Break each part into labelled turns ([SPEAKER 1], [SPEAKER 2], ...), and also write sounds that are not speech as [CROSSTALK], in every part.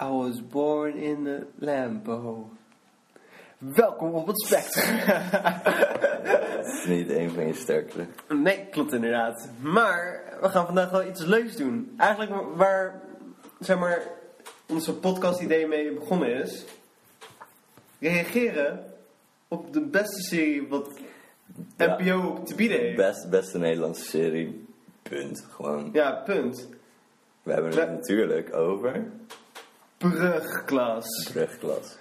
[SPEAKER 1] I was born in a Lambo. Welkom op het spectrum.
[SPEAKER 2] Dat is niet een van je sterkste.
[SPEAKER 1] nee, klopt inderdaad. Maar we gaan vandaag wel iets leuks doen. Eigenlijk waar, zeg maar, onze podcast idee mee begonnen is. Reageren op de beste serie wat
[SPEAKER 2] Ja.
[SPEAKER 1] NPO te bieden heeft.
[SPEAKER 2] Best, beste Nederlandse serie. Punt. Gewoon.
[SPEAKER 1] Ja, punt.
[SPEAKER 2] We hebben het
[SPEAKER 1] Ja.
[SPEAKER 2] natuurlijk over
[SPEAKER 1] Brugklas.
[SPEAKER 2] brugklas.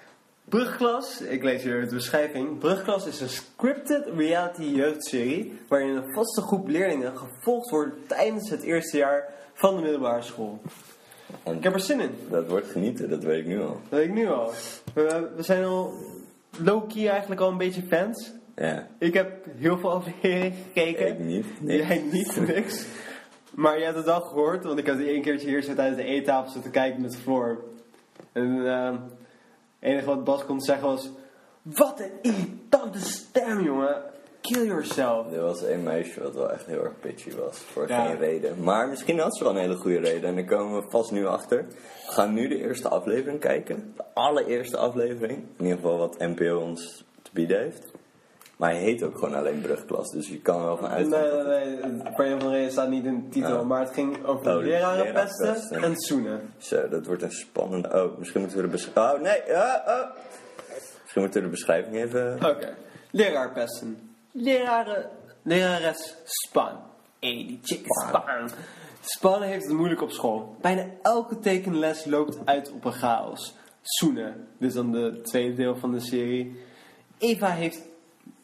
[SPEAKER 1] Brugklas, ik lees hier de beschrijving. Brugklas is een scripted reality jeugdserie waarin een vaste groep leerlingen gevolgd wordt tijdens het eerste jaar van de middelbare school.
[SPEAKER 2] En-
[SPEAKER 1] Ik heb er zin in,
[SPEAKER 2] Dat wordt genieten, dat weet ik nu al.
[SPEAKER 1] dat weet ik nu al. We, we zijn al low-key eigenlijk al een beetje fans.
[SPEAKER 2] Ja.
[SPEAKER 1] Ik heb heel veel [LAUGHS] afleveringen gekeken.
[SPEAKER 2] Ik niet. Nee.
[SPEAKER 1] Jij niet, niks. Maar jij hebt het wel gehoord, want ik had die één keertje hier zo tijdens de eettafel zitten kijken met Floor. En ehm het enige wat Bas kon zeggen was... Wat een irritante stem, jongen. Kill yourself.
[SPEAKER 2] Er was een meisje wat wel echt heel erg pitchy was. Voor
[SPEAKER 1] Ja.
[SPEAKER 2] geen reden. Maar misschien had ze wel een hele goede reden. En daar komen we vast nu achter. We gaan nu de eerste aflevering kijken. De allereerste aflevering. In ieder geval wat NPO ons te bieden heeft. Maar hij heet ook gewoon alleen brugklas. Dus je kan er wel van
[SPEAKER 1] Nee,
[SPEAKER 2] uitgaan.
[SPEAKER 1] nee, nee. het Brian van Reden staat niet in de titel,
[SPEAKER 2] Ja.
[SPEAKER 1] maar het ging over
[SPEAKER 2] Oh, de
[SPEAKER 1] leraren pesten
[SPEAKER 2] lerarenpesten.
[SPEAKER 1] en zoenen.
[SPEAKER 2] Zo, dat wordt een spannende... Oh, misschien moeten we de beschrijving... Oh, nee! ah, ah. Misschien moeten we de beschrijving even...
[SPEAKER 1] Oké. Leraar pesten. Leraren... Lerares Span. Hey, die chick is Span. Span heeft het moeilijk op school. Bijna elke tekenles loopt uit op een chaos. Soenen, dit is dan de tweede deel van de serie. Eva heeft...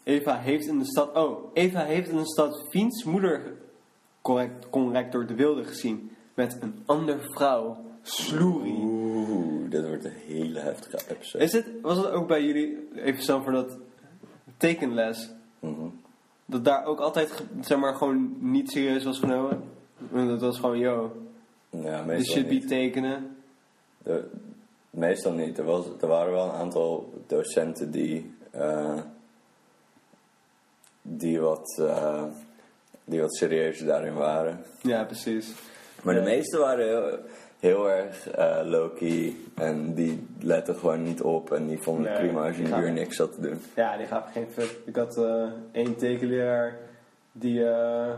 [SPEAKER 1] Eva heeft in de stad... Oh, Eva heeft in de stad Fiens moeder correct, correct door de wilde gezien. Met een ander vrouw. Sloerie.
[SPEAKER 2] Oeh, dat wordt een hele heftige episode.
[SPEAKER 1] Is het, was het ook bij jullie, even snel voor dat tekenles,
[SPEAKER 2] Mhm.
[SPEAKER 1] dat daar ook altijd, ge- zeg maar, gewoon niet serieus was genomen? Want dat was gewoon, yo,
[SPEAKER 2] Ja,
[SPEAKER 1] dit
[SPEAKER 2] meestal
[SPEAKER 1] shit
[SPEAKER 2] niet.
[SPEAKER 1] be tekenen.
[SPEAKER 2] Er- meestal niet. Er, was, er waren wel een aantal docenten die... eh, die wat... eh, die wat serieuzer daarin waren.
[SPEAKER 1] Ja, precies.
[SPEAKER 2] Maar de meeste waren heel, heel erg eh, low-key. En die letten gewoon niet op. En die vonden het
[SPEAKER 1] Nee,
[SPEAKER 2] prima als je
[SPEAKER 1] die
[SPEAKER 2] een
[SPEAKER 1] gaan-
[SPEAKER 2] uur niks zat te doen.
[SPEAKER 1] Ja, die gaf geen fuck. Ik had eh, één tekenleraar die, eh,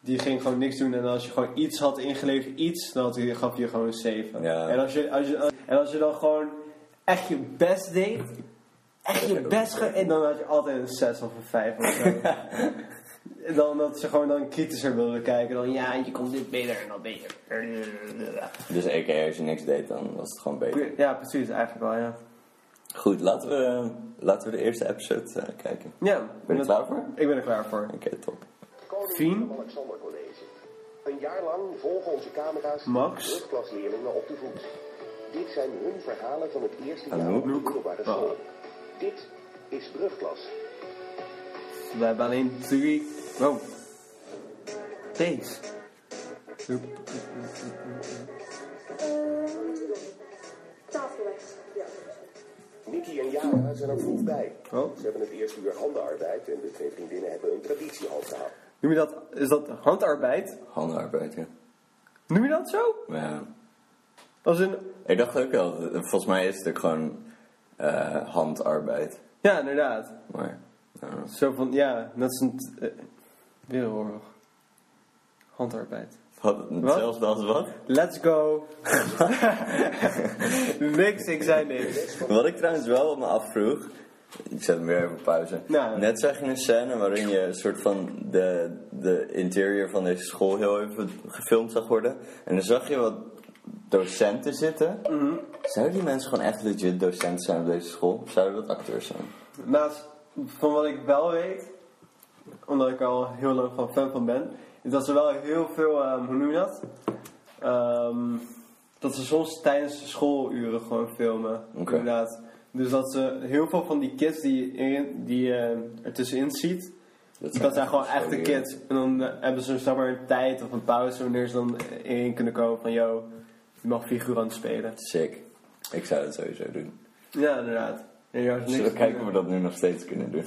[SPEAKER 1] die ging gewoon niks doen. En als je gewoon iets had ingeleverd, iets, dan had hij, gaf hij je gewoon een 7.
[SPEAKER 2] Ja.
[SPEAKER 1] En, als je, als je, en als je dan gewoon echt je best deed, echt je best ge- en dan had je altijd een 6 of een 5 of
[SPEAKER 2] [LAUGHS]
[SPEAKER 1] zo. En Dan dat ze gewoon dan kritischer wilden kijken. Dan ja, je komt dit beter en dat beter.
[SPEAKER 2] Dus a.k.a. als je niks deed, dan was het gewoon beter.
[SPEAKER 1] Ja, precies, eigenlijk wel, ja.
[SPEAKER 2] Goed, laten we, eh, laten we de eerste episode eh, kijken.
[SPEAKER 1] Ja,
[SPEAKER 2] Ben je er klaar voor?
[SPEAKER 1] Ik ben er klaar voor.
[SPEAKER 2] Oké, top.
[SPEAKER 1] Fien?
[SPEAKER 3] Koning Alexander College. Een jaar lang volgen onze camera's
[SPEAKER 1] Max?
[SPEAKER 3] de brugklasleerlingen op de voet. Dit zijn hun verhalen van het eerste
[SPEAKER 2] En
[SPEAKER 3] jaar op de
[SPEAKER 1] Loek.
[SPEAKER 3] middelbare
[SPEAKER 1] Ah.
[SPEAKER 3] school. Dit is brugklas.
[SPEAKER 1] We hebben alleen drie. Oh. Wow. Deze. Oep.
[SPEAKER 3] Nicky en Jara zijn er vroeg bij.
[SPEAKER 1] Oh.
[SPEAKER 3] Ze hebben het eerste uur handenarbeid en de twee vriendinnen hebben een traditiehandhaal.
[SPEAKER 1] Noem je dat? Is dat handarbeid?
[SPEAKER 2] Handenarbeid, ja.
[SPEAKER 1] Noem je dat zo?
[SPEAKER 2] Maar ja.
[SPEAKER 1] Als in.
[SPEAKER 2] Ik dacht ook wel, dat- volgens mij is het ook gewoon eh, handarbeid.
[SPEAKER 1] Ja, inderdaad.
[SPEAKER 2] Maar, nou,
[SPEAKER 1] Zo van, ja, dat is een. t- eh, wereldoorlog. Handarbeid.
[SPEAKER 2] wat, zelfs dat wat?
[SPEAKER 1] Let's go. [LAUGHS] niks, ik zei niks.
[SPEAKER 2] Wat ik trouwens wel op me afvroeg, ik zet hem weer even op pauze.
[SPEAKER 1] Nou.
[SPEAKER 2] Net zag je een scène waarin je een soort van de, de interior van deze school heel even gefilmd zag worden. En dan zag je wat docenten zitten.
[SPEAKER 1] Mhm.
[SPEAKER 2] Zouden die mensen gewoon echt legit docent zijn op deze school? Of zouden dat acteurs zijn?
[SPEAKER 1] Naast van wat ik wel weet, omdat ik al heel lang van fan van ben, is dat ze wel heel veel, ehm, hoe noem je dat? Ehm, dat ze soms tijdens de schooluren gewoon filmen.
[SPEAKER 2] Oké.
[SPEAKER 1] Inderdaad. Dus dat ze heel veel van die kids die, je in, die je er tussenin ziet,
[SPEAKER 2] Dat
[SPEAKER 1] dat zijn gewoon echte
[SPEAKER 2] sorry.
[SPEAKER 1] kids. En dan eh, hebben ze zeg maar een tijd of een pauze wanneer ze dan in kunnen komen van, yo, je mag figurant spelen.
[SPEAKER 2] Sick. Ik zou dat sowieso doen.
[SPEAKER 1] Ja, inderdaad. En er is niks
[SPEAKER 2] Zullen we
[SPEAKER 1] te
[SPEAKER 2] kijken
[SPEAKER 1] doen.
[SPEAKER 2] of we dat nu nog steeds kunnen doen?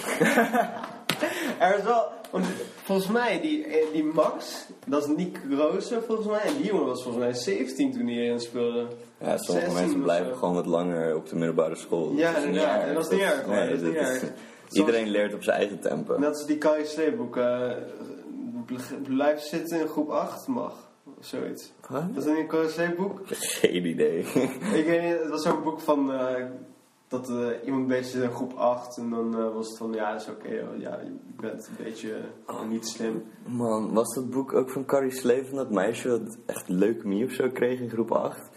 [SPEAKER 1] Er is wel. want Volgens mij, die, eh, die Max, dat is Nick Rozen volgens mij. En die jongen was volgens mij 17 toen hij erin speelde.
[SPEAKER 2] [LAUGHS] Ja, sommige
[SPEAKER 1] 16
[SPEAKER 2] mensen
[SPEAKER 1] of
[SPEAKER 2] blijven
[SPEAKER 1] zo.
[SPEAKER 2] gewoon wat langer op de middelbare school.
[SPEAKER 1] Ja,
[SPEAKER 2] Dat is niet
[SPEAKER 1] inderdaad.
[SPEAKER 2] erg.
[SPEAKER 1] En dat is niet erg, hoor.
[SPEAKER 2] nee,
[SPEAKER 1] Dat is niet
[SPEAKER 2] dat
[SPEAKER 1] erg.
[SPEAKER 2] is-
[SPEAKER 1] Soms-
[SPEAKER 2] Iedereen leert op zijn eigen tempo.
[SPEAKER 1] Net als die KSC boek. eh bl- blijf zitten in groep 8 mag. Of zoiets.
[SPEAKER 2] Wat?
[SPEAKER 1] Dat is een KSC boek.
[SPEAKER 2] Geen idee.
[SPEAKER 1] Ik weet niet, het was zo'n boek van eh, dat eh, iemand bezig is in groep 8 en dan eh, was het van ja, dat is oké, hoor. ja, je bent een beetje eh, niet slim.
[SPEAKER 2] Man, was dat boek ook van Carrie Slee van dat meisje dat echt leukemie of zo kreeg in groep 8?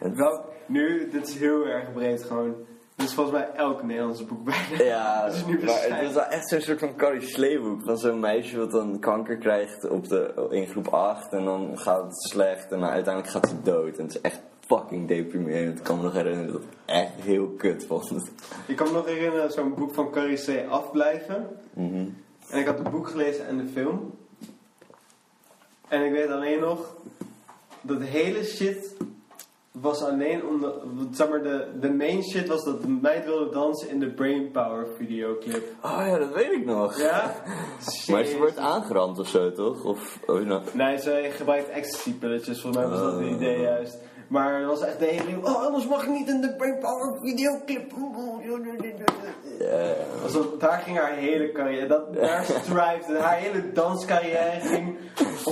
[SPEAKER 2] En-
[SPEAKER 1] Wel, nu, dit is heel erg breed gewoon. Dit is volgens mij elk Nederlands boek bijna.
[SPEAKER 2] Ja,
[SPEAKER 1] Dat is nu
[SPEAKER 2] maar het
[SPEAKER 1] beschrijft.
[SPEAKER 2] was wel echt zo'n soort van Carrie Sleeboek. Van zo'n meisje wat dan kanker krijgt op de, in groep 8 en dan gaat het slecht en dan uiteindelijk gaat ze dood. En het is echt fucking deprimerend. Ik kan me nog herinneren dat ik het echt heel kut vond.
[SPEAKER 1] Ik kan me nog herinneren zo'n boek van Carrie C. Afblijven.
[SPEAKER 2] Mhm.
[SPEAKER 1] En ik had het boek gelezen en de film. En ik weet alleen nog, dat hele shit was alleen om de, zeg maar, de, de main shit was dat de meid wilde dansen in de Brain Power videoclip.
[SPEAKER 2] Oh ja, dat weet ik
[SPEAKER 1] [LAUGHS]
[SPEAKER 2] nog.
[SPEAKER 1] Ja?
[SPEAKER 2] Maar ze wordt
[SPEAKER 1] Jezus.
[SPEAKER 2] aangerand of zo, toch? Of, of nou,
[SPEAKER 1] Nee, ze gebruikt ecstasy-pilletjes, volgens mij was dat het
[SPEAKER 2] Oh.
[SPEAKER 1] idee juist. Maar het was echt de hele nieuwe, oh anders mag je niet in de Brain Power videoclip.
[SPEAKER 2] ja,
[SPEAKER 1] Alsof, daar ging haar hele carrière, dat, daar strived, haar hele danscarrière ging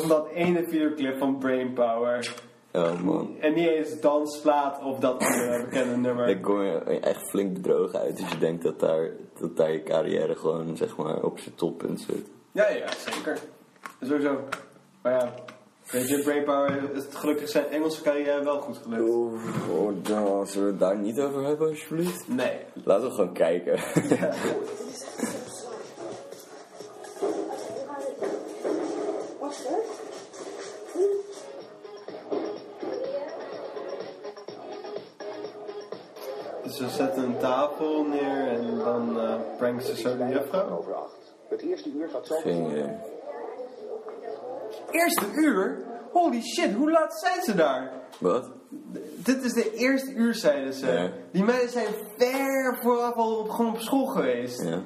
[SPEAKER 1] om dat ene videoclip van Brain Power.
[SPEAKER 2] oh man.
[SPEAKER 1] En niet eens dansplaat of dat eh, bekende nummer.
[SPEAKER 2] Daar kom je echt flink bedrogen uit als je denkt dat daar, dat daar je carrière gewoon zeg maar, op zijn toppunt zit.
[SPEAKER 1] Ja, ja, zeker. Sowieso. Maar ja, weet je, Brain Power is het gelukkig zijn Engelse carrière wel goed gelukt.
[SPEAKER 2] Oeh, oh, dan zullen we het daar niet over hebben alsjeblieft?
[SPEAKER 1] Nee.
[SPEAKER 2] Laten we gewoon kijken. [LAUGHS]
[SPEAKER 4] What's that?
[SPEAKER 1] Dus ze zetten een tafel neer en dan eh brengen ze zo de juffrouw.
[SPEAKER 3] Over acht. Het eerste uur gaat zo.
[SPEAKER 2] Geen idee.
[SPEAKER 1] Eerste uur? Holy shit, hoe laat zijn ze daar?
[SPEAKER 2] Wat?
[SPEAKER 1] Dit is de eerste uur, zeiden ze.
[SPEAKER 2] Ja.
[SPEAKER 1] Die meiden zijn ver vooraf al op, gewoon op school geweest. Ja.
[SPEAKER 2] Ja.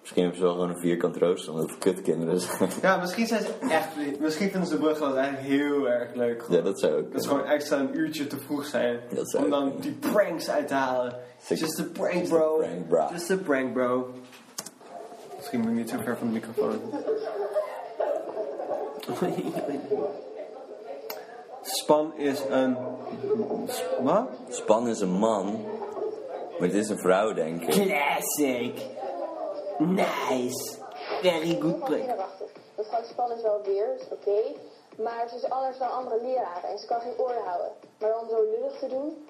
[SPEAKER 2] Misschien hebben ze wel gewoon een vierkant rooster omdat het kutkinderen zijn. [LAUGHS]
[SPEAKER 1] misschien zijn ze echt... Misschien vinden ze de brugklas eigenlijk heel erg leuk.
[SPEAKER 2] ja, dat zou ook.
[SPEAKER 1] Dat is
[SPEAKER 2] kunnen.
[SPEAKER 1] gewoon extra een uurtje te vroeg zijn.
[SPEAKER 2] Dat zou
[SPEAKER 1] om dan
[SPEAKER 2] kunnen.
[SPEAKER 1] die pranks uit te halen.
[SPEAKER 2] Zeker.
[SPEAKER 1] Just a prank,
[SPEAKER 2] Just a
[SPEAKER 1] bro.
[SPEAKER 2] prank, bro.
[SPEAKER 1] Just a prank, bro. Misschien moet ik niet zo ver van de
[SPEAKER 2] [LAUGHS]
[SPEAKER 1] microfoon. Span is een... Wat?
[SPEAKER 2] Span is een man, maar het is een vrouw, denk ik.
[SPEAKER 1] Classic. Nice. Very good prank.
[SPEAKER 5] Kinderachtig. Mevrouw Span is wel weird, oké. Maar ze is anders dan andere leraren en ze kan geen oren houden. Maar om zo lullig te doen...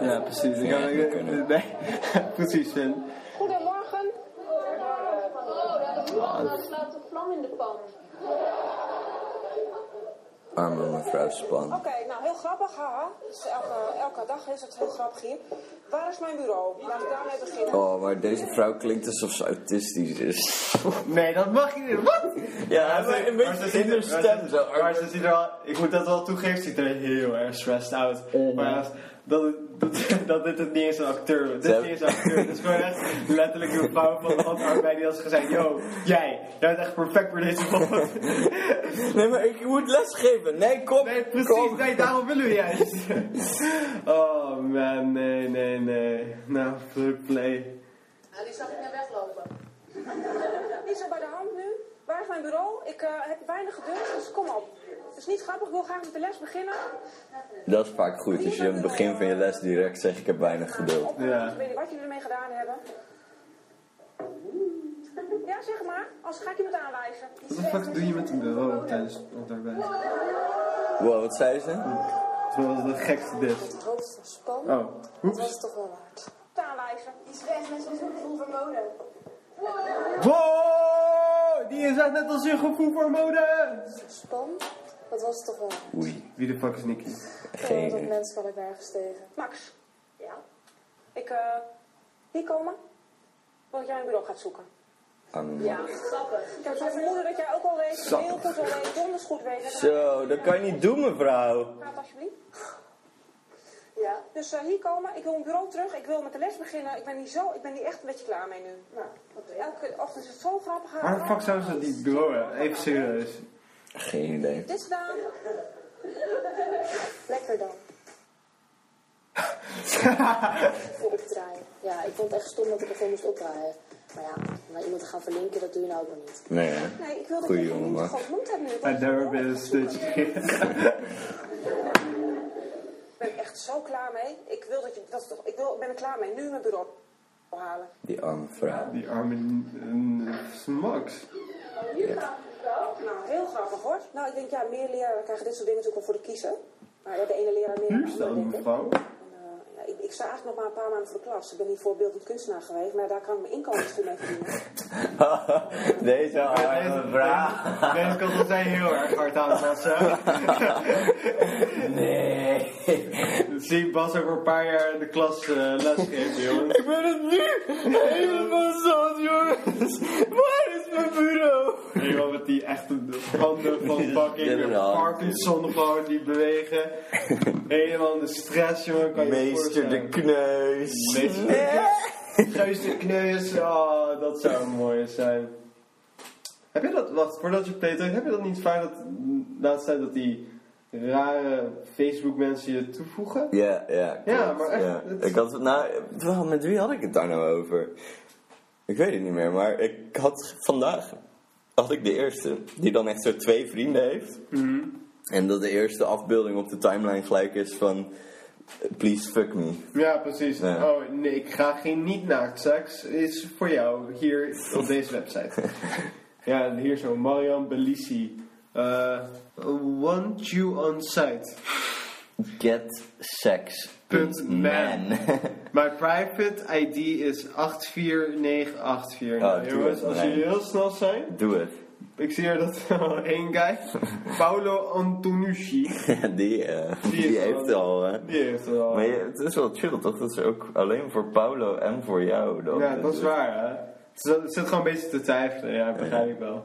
[SPEAKER 1] Ja, precies. Ik
[SPEAKER 2] Ja,
[SPEAKER 1] had-
[SPEAKER 2] dat kunnen.
[SPEAKER 1] Nee, [LAUGHS] precies. En
[SPEAKER 5] Goedemorgen. Oh, daar is een slaat de vlam in de pan. Oké,
[SPEAKER 2] Arme mevrouw Span.
[SPEAKER 6] Oké, nou heel grappig, haha. Dus elke, elke dag is het heel grappig hier. Waar is mijn bureau? Laat ik daarmee beginnen.
[SPEAKER 2] Oh, maar deze vrouw klinkt alsof ze autistisch is.
[SPEAKER 1] Nee, dat mag je niet. Wat?
[SPEAKER 2] Ja, maar een beetje
[SPEAKER 1] ze
[SPEAKER 2] in
[SPEAKER 1] ziet
[SPEAKER 2] haar
[SPEAKER 1] er-
[SPEAKER 2] stem
[SPEAKER 1] maar ze-
[SPEAKER 2] zo.
[SPEAKER 1] Maar ze ziet er wel, ik moet dat wel toegeven, ze ziet er heel erg stressed out.
[SPEAKER 2] Oh,
[SPEAKER 1] Maar ja, dat, het- dat, [LAUGHS] dat dit het niet eens een acteur is. Dit is
[SPEAKER 2] Ze
[SPEAKER 1] niet eens een acteur. Dit is gewoon echt letterlijk een vrouw van de hand arbeid die had gezegd: Yo, jij, jij bent echt perfect voor deze man. [LAUGHS]
[SPEAKER 2] Nee, maar ik moet lesgeven. Nee, kom.
[SPEAKER 1] Nee, precies,
[SPEAKER 2] kom.
[SPEAKER 1] nee, daarom willen we juist. [LAUGHS] Oh man, nee, nee, nee. Nou, play, play.
[SPEAKER 5] Nou, die zag ik net weglopen.
[SPEAKER 6] Niet zo bij de hand nu. Waar is mijn bureau? Ik eh, heb weinig geduld, dus kom op. Het is niet grappig, ik wil graag met de les beginnen.
[SPEAKER 2] Dat is vaak goed, als je aan het begin van je les direct zegt ik heb weinig geduld.
[SPEAKER 6] Op,
[SPEAKER 1] Ja.
[SPEAKER 6] Ik weet niet wat jullie ermee gedaan hebben. Ja, zeg maar. Als ga ik iemand aanwijzen.
[SPEAKER 1] Wat de fuck doe je met een bureau tijdens arbeid?
[SPEAKER 2] Wow, wat zei ze?
[SPEAKER 1] Dat was de gekste dit.
[SPEAKER 4] Het hoofd van span.
[SPEAKER 1] Oh,
[SPEAKER 4] Dat was toch wel waard.
[SPEAKER 6] Iemand aanwijzen.
[SPEAKER 5] Die stress mensen met zo'n gevoel voor mode.
[SPEAKER 1] Wow, die is echt net als een gevoel voor mode.
[SPEAKER 4] Span. Dat was toch wel waard.
[SPEAKER 2] Oei,
[SPEAKER 1] Wie de fuck is Nicky?
[SPEAKER 4] Oh,
[SPEAKER 2] geen
[SPEAKER 4] dat
[SPEAKER 2] idee.
[SPEAKER 4] mens kan ik daar gestegen.
[SPEAKER 6] Max,
[SPEAKER 5] Ja?
[SPEAKER 6] ik eh hier komen. Want jij mijn bureau gaat zoeken.
[SPEAKER 2] Arme man.
[SPEAKER 5] Ja, grappig.
[SPEAKER 6] Ik heb zo'n vermoeden dat jij ook al weet,
[SPEAKER 1] Zo.
[SPEAKER 6] heel goed al weet, donders goed weet.
[SPEAKER 2] Zo, dat kan je niet doen mevrouw.
[SPEAKER 6] Gaat alsjeblieft.
[SPEAKER 5] Ja, Ja.
[SPEAKER 6] Dus eh, hier komen, ik wil mijn bureau terug, ik wil met de les beginnen. Ik ben hier, zo, ik ben hier echt een beetje klaar mee nu. Nou, want elke ochtend is het zo grappig. haar
[SPEAKER 1] Waarom de fuck zouden ze die bureau hebben? Even [LAUGHS] serieus.
[SPEAKER 2] Geen idee.
[SPEAKER 6] Dit is gedaan.
[SPEAKER 5] Lekker dan. Voor opdraaien. Ja, ik vond het echt stom dat ik ervoor moest opdraaien. Maar ja, naar iemand te gaan verlinken, dat doe je nou ook nog niet.
[SPEAKER 2] Nee, hè?
[SPEAKER 6] Nee, ik wilde
[SPEAKER 2] Goeie
[SPEAKER 6] het
[SPEAKER 2] jongen,
[SPEAKER 6] niet
[SPEAKER 2] maar.
[SPEAKER 6] gewoon genoemd hebben nu.
[SPEAKER 1] En daar ben je steeds.
[SPEAKER 6] Ik ben echt zo klaar mee. Ik wil dat je, dat is toch, ik wil, ik ben er klaar mee. Nu mijn bureau halen.
[SPEAKER 2] Die arme vrouw. [LAUGHS]
[SPEAKER 1] Die arme eh, Smax.
[SPEAKER 6] Nou, heel grappig hoor. Nou, ik denk ja, meer leraren krijgen dit soort dingen natuurlijk wel voor de kiezen. Maar ja, de ene leraar meer dan
[SPEAKER 1] Nu
[SPEAKER 6] de andere,
[SPEAKER 1] staan
[SPEAKER 6] denk ik.
[SPEAKER 1] mevrouw.
[SPEAKER 6] En, eh, ja, ik. Ik sta eigenlijk nog maar een paar maanden voor de klas. Ik ben hier voorbeeldend kunstenaar geweest, maar daar kan ik mijn inkomen misschien mee verdienen.
[SPEAKER 2] Deze arme vrouw.
[SPEAKER 1] Deze kant op zijn heel erg hard aan het passen.
[SPEAKER 2] Nee.
[SPEAKER 1] Zie Bas over een paar jaar in de klas eh, lesgeven, jongens.
[SPEAKER 2] Ik ben het nu helemaal zat, jongens. Waar is mijn bureau?
[SPEAKER 1] Iemand met die echte handen
[SPEAKER 2] [LAUGHS]
[SPEAKER 1] van fucking
[SPEAKER 2] Inderdaad.
[SPEAKER 1] Parkinson gewoon die bewegen. Helemaal in de stress, jongen. Kan je je
[SPEAKER 2] Meester de
[SPEAKER 1] voorstellen.
[SPEAKER 2] kneus.
[SPEAKER 1] Meester de Kneus de kneus. Oh, dat zou mooi zijn. Heb je dat, wacht, voordat je playtest, heb je dat niet vaak dat, laatst tijd dat die rare Facebook mensen je toevoegen?
[SPEAKER 2] Ja, ja.
[SPEAKER 1] Ja,
[SPEAKER 2] klopt,
[SPEAKER 1] maar echt,
[SPEAKER 2] ja.
[SPEAKER 1] het-
[SPEAKER 2] Ik had, nou, wel, met wie had ik het daar nou over? Ik weet het niet meer, maar ik had vandaag, had ik de eerste, die dan echt zo twee vrienden heeft.
[SPEAKER 1] Mhm.
[SPEAKER 2] En dat de eerste afbeelding op de timeline gelijk is van, eh, please fuck me.
[SPEAKER 1] Ja, precies.
[SPEAKER 2] Ja.
[SPEAKER 1] Oh, nee, ik ga geen niet-naaktsex. Is voor jou hier op deze
[SPEAKER 2] [LAUGHS]
[SPEAKER 1] website. ja, en hier zo. Marian Belissi. Eh, want you on site.
[SPEAKER 2] Get sex.
[SPEAKER 1] Punt man. My private ID is 84984. Nou,
[SPEAKER 2] Oh, doe
[SPEAKER 1] jongens,
[SPEAKER 2] het,
[SPEAKER 1] als jullie
[SPEAKER 2] Marijn.
[SPEAKER 1] heel snel zijn.
[SPEAKER 2] [LAUGHS] Doe het. [LAUGHS]
[SPEAKER 1] Ik zie hier dat al één guy. Paolo Antonucci.
[SPEAKER 2] die, eh, die,
[SPEAKER 1] is wel-
[SPEAKER 2] heeft al, hè.
[SPEAKER 1] Die heeft het al.
[SPEAKER 2] Maar je- het is wel chill toch? Dat is ook alleen voor Paulo en voor jou. Dan. Dus
[SPEAKER 1] Ja, dat is waar, hè? Ze ze zit gewoon een beetje te twijfelen, ja, begrijp ik wel.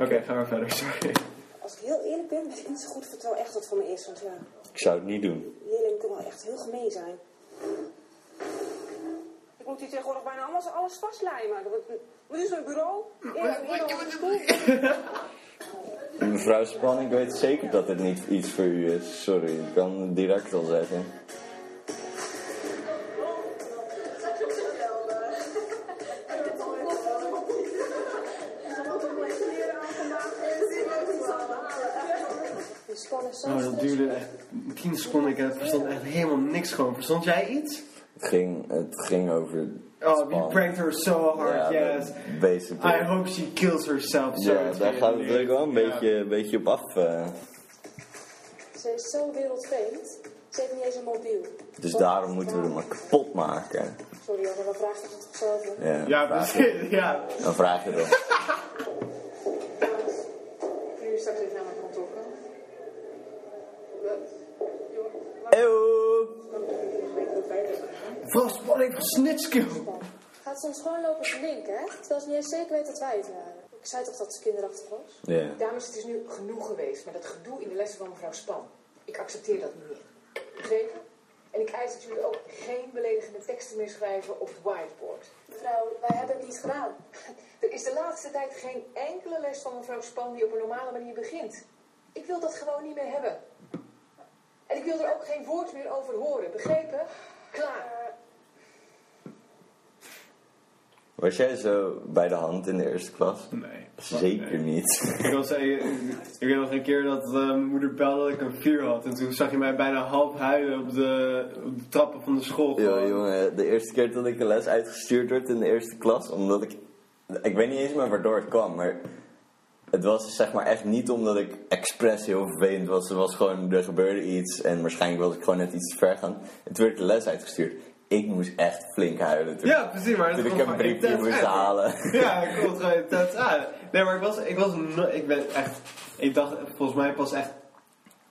[SPEAKER 1] Oké, gaan we verder, sorry.
[SPEAKER 6] Als ik heel eerlijk ben, weet ik niet zo goed of het wel echt wat voor me is. Want ja,
[SPEAKER 2] Ik zou het niet doen.
[SPEAKER 6] leerlingen kunnen wel echt heel gemeen zijn. Ik moet hier tegenwoordig bijna allemaal alles vastlijmen. Dat wordt- Wat is mijn bureau? Eerlijk, eerlijk, op de stoel.
[SPEAKER 2] Mevrouw Span, ik weet zeker dat dit niet iets voor u is. Sorry, ik kan het direct al zeggen.
[SPEAKER 5] Die spannen zo
[SPEAKER 1] Nou, dat duurde echt 10 seconden. Ik heb- verstond echt helemaal niks gewoon. Verstond jij iets?
[SPEAKER 2] Het ging, het ging over.
[SPEAKER 1] Oh, we
[SPEAKER 2] Span.
[SPEAKER 1] pranked her so hard,
[SPEAKER 2] Ja,
[SPEAKER 1] yes.
[SPEAKER 2] basically.
[SPEAKER 1] I hope she kills herself. zo
[SPEAKER 2] Ja, daar gaat het natuurlijk wel een
[SPEAKER 1] Ja.
[SPEAKER 2] beetje, een beetje op af. eh.
[SPEAKER 5] Ze is zo wereldvreemd. Ze heeft niet eens een mobiel.
[SPEAKER 2] Dus daarom moeten we hem maar kapot maken.
[SPEAKER 5] Sorry hoor, maar dan vraagt ze het toch zelf. hè?
[SPEAKER 2] Ja,
[SPEAKER 1] Ja,
[SPEAKER 2] vraag-
[SPEAKER 1] precies, [LAUGHS] ja.
[SPEAKER 2] Dan vraag je dat.
[SPEAKER 6] Nu straks even naar mijn kantoor komen.
[SPEAKER 2] Eeuw!
[SPEAKER 1] Vast spanning van snitskill.
[SPEAKER 5] Gaat soms gewoon lopen verlinken, hè? Terwijl ze niet eens zeker weet dat wij het waren. Ik zei toch dat ze kinderachtig was?
[SPEAKER 2] Ja.
[SPEAKER 7] Dames, het is nu genoeg geweest met dat gedoe in de lessen van mevrouw Span. Ik accepteer dat niet meer. Begrepen? En ik eis dat jullie ook geen beledigende teksten meer schrijven op het whiteboard.
[SPEAKER 5] Mevrouw, wij hebben het niet gedaan.
[SPEAKER 7] Er is de laatste tijd geen enkele les van mevrouw Span die op een normale manier begint. Ik wil dat gewoon niet meer hebben. En ik wil er ook geen woord meer over horen. Begrepen? Klaar.
[SPEAKER 2] Was jij zo bij de hand in de eerste klas?
[SPEAKER 1] Nee.
[SPEAKER 2] Zeker niet.
[SPEAKER 1] Ik, was, ik, ik weet nog een keer dat eh, mijn moeder belde dat ik een vier had. En toen zag je mij bijna half huilen op de, op de trappen van de school.
[SPEAKER 2] Yo,
[SPEAKER 1] gewoon.
[SPEAKER 2] jongen, de eerste keer dat ik een les uitgestuurd werd in de eerste klas, omdat ik. Ik weet niet eens meer waardoor het kwam, maar. Het was zeg maar echt niet omdat ik expres heel vervelend was. Het was gewoon, er gebeurde iets en waarschijnlijk was ik gewoon net iets te ver gaan. En toen werd ik de les uitgestuurd. Ik moest echt flink huilen toen.
[SPEAKER 1] Ja, precies, maar het
[SPEAKER 2] Toen ik
[SPEAKER 1] komt
[SPEAKER 2] een
[SPEAKER 1] gewoon
[SPEAKER 2] briefje
[SPEAKER 1] intens
[SPEAKER 2] moest
[SPEAKER 1] uit.
[SPEAKER 2] halen. [LAUGHS]
[SPEAKER 1] [LAUGHS] Ja, ik kon het gewoon intens aan. ah. Nee, maar ik was, ik was, no- ik ben echt, ik dacht volgens mij pas echt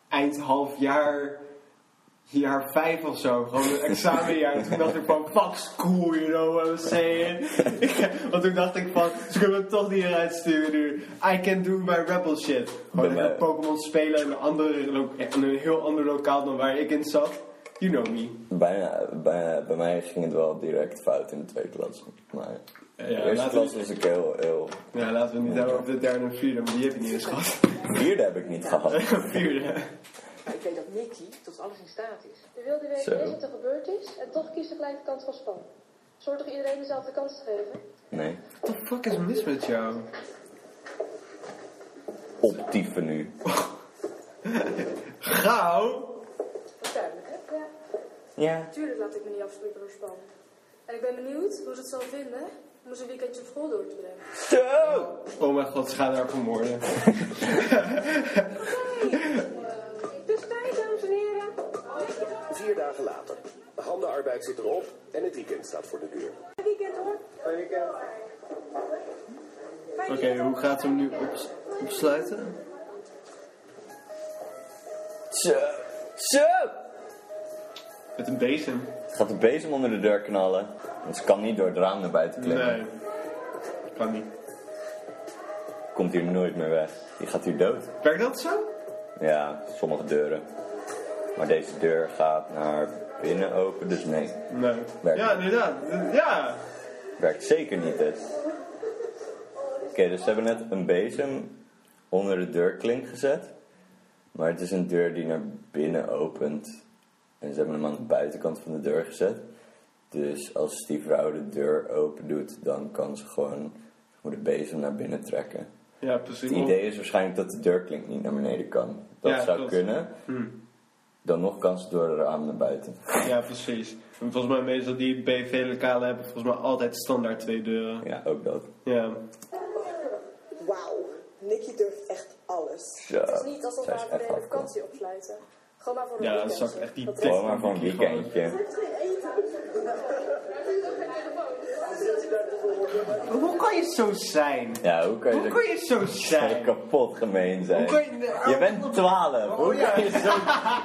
[SPEAKER 1] eind half jaar, jaar vijf of zo, gewoon het examenjaar. toen dacht ik van, fuck school, you know what I'm saying. [LAUGHS] Ik- Want toen dacht ik van, ze kunnen me toch niet eruit sturen nu. I can do my rebel shit. Gewoon lekker
[SPEAKER 2] Bij mij-
[SPEAKER 1] Pokémon spelen in een, andere, lo- in een heel ander lokaal dan waar ik in zat. You know me.
[SPEAKER 2] Bijna, bijna, bij mij ging het wel direct fout in de tweede klas. Maar de eerste
[SPEAKER 1] laten we-
[SPEAKER 2] klas was ik heel, heel...
[SPEAKER 1] Ja, Nou, laten we
[SPEAKER 2] Oh.
[SPEAKER 1] het niet hebben over de derde en vierde, maar die heb je niet eens gehad. [LAUGHS]
[SPEAKER 2] Vierde heb ik niet gehad.
[SPEAKER 1] vierde.
[SPEAKER 7] Maar Nou, ik weet dat Nicky tot alles in staat is.
[SPEAKER 5] We wilden
[SPEAKER 2] Zo.
[SPEAKER 5] weten eerst wat er gebeurd is en toch kiest de kleine kant van Span. Zorg toch iedereen dezelfde kans te geven?
[SPEAKER 2] Nee.
[SPEAKER 1] What the fuck is mis met jou?
[SPEAKER 2] Optieven nu.
[SPEAKER 1] Gauw!
[SPEAKER 8] Dat is duidelijk, hè? Ja.
[SPEAKER 2] Ja.
[SPEAKER 8] Tuurlijk laat ik me niet afspreken door Span. En ik ben benieuwd hoe ze het zal vinden om eens een weekendje op school door te brengen.
[SPEAKER 2] Zo!
[SPEAKER 1] Oh mijn god, ze gaat haar vermoorden.
[SPEAKER 6] Dus tijd, dames en heren.
[SPEAKER 3] Vier dagen later. De handenarbeid zit erop en het weekend staat voor de deur.
[SPEAKER 6] Fijn weekend hoor.
[SPEAKER 3] Fijn weekend.
[SPEAKER 6] Fijn
[SPEAKER 1] Oké,
[SPEAKER 6] weekend.
[SPEAKER 1] hoe gaat ze hem nu op, opsluiten?
[SPEAKER 2] Zo! Zo!
[SPEAKER 1] Met een bezem.
[SPEAKER 2] Het gaat de bezem onder de deur knallen. Want ze kan niet door het raam naar buiten klimmen.
[SPEAKER 1] Nee. Kan niet.
[SPEAKER 2] Komt hier nooit meer weg. Die gaat hier dood.
[SPEAKER 1] Werkt dat zo?
[SPEAKER 2] Ja, sommige deuren. Maar deze deur gaat naar binnen open, dus nee.
[SPEAKER 1] Nee.
[SPEAKER 2] Werkt.
[SPEAKER 1] Ja, inderdaad. Ja!
[SPEAKER 2] Werkt zeker niet dus. Oké, dus ze hebben net een bezem onder de deurklink gezet. Maar het is een deur die naar binnen opent. En ze hebben hem aan de buitenkant van de deur gezet. Dus als die vrouw de deur open doet, dan kan ze gewoon met de bezem naar binnen trekken.
[SPEAKER 1] Ja, precies.
[SPEAKER 2] Het idee is waarschijnlijk dat de deurklink niet naar beneden kan. Dat
[SPEAKER 1] Oh. Ja,
[SPEAKER 2] zou
[SPEAKER 1] klopt. Hmm.
[SPEAKER 2] kunnen. Dan nog kan ze door de raam naar buiten.
[SPEAKER 1] Ja, precies. En volgens mij meestal die BV-lokalen hebben volgens mij altijd standaard twee deuren.
[SPEAKER 2] Ja, ook dat.
[SPEAKER 1] Ja.
[SPEAKER 9] Wauw, Nicky durft echt alles.
[SPEAKER 2] Zo.
[SPEAKER 8] Het is niet alsof we
[SPEAKER 2] Zij
[SPEAKER 8] haar
[SPEAKER 2] is
[SPEAKER 8] voor
[SPEAKER 2] echt
[SPEAKER 8] de hele
[SPEAKER 2] hardcore.
[SPEAKER 8] vakantie opsluiten. Gewoon maar voor een
[SPEAKER 1] Ja, dan
[SPEAKER 8] weekendje.
[SPEAKER 1] zou ik echt die
[SPEAKER 8] Dat-
[SPEAKER 2] Gewoon maar voor een weekendje.
[SPEAKER 3] [LAUGHS]
[SPEAKER 1] Hoe kan je zo zijn?
[SPEAKER 2] Ja, hoe kan je,
[SPEAKER 1] Hoe
[SPEAKER 2] zo-
[SPEAKER 1] kan je zo
[SPEAKER 2] kan je
[SPEAKER 1] zijn?
[SPEAKER 2] kapot gemeen zijn?
[SPEAKER 1] Hoe kan je- oh,
[SPEAKER 2] bent 12. hoe
[SPEAKER 1] ja.
[SPEAKER 2] kan je zo...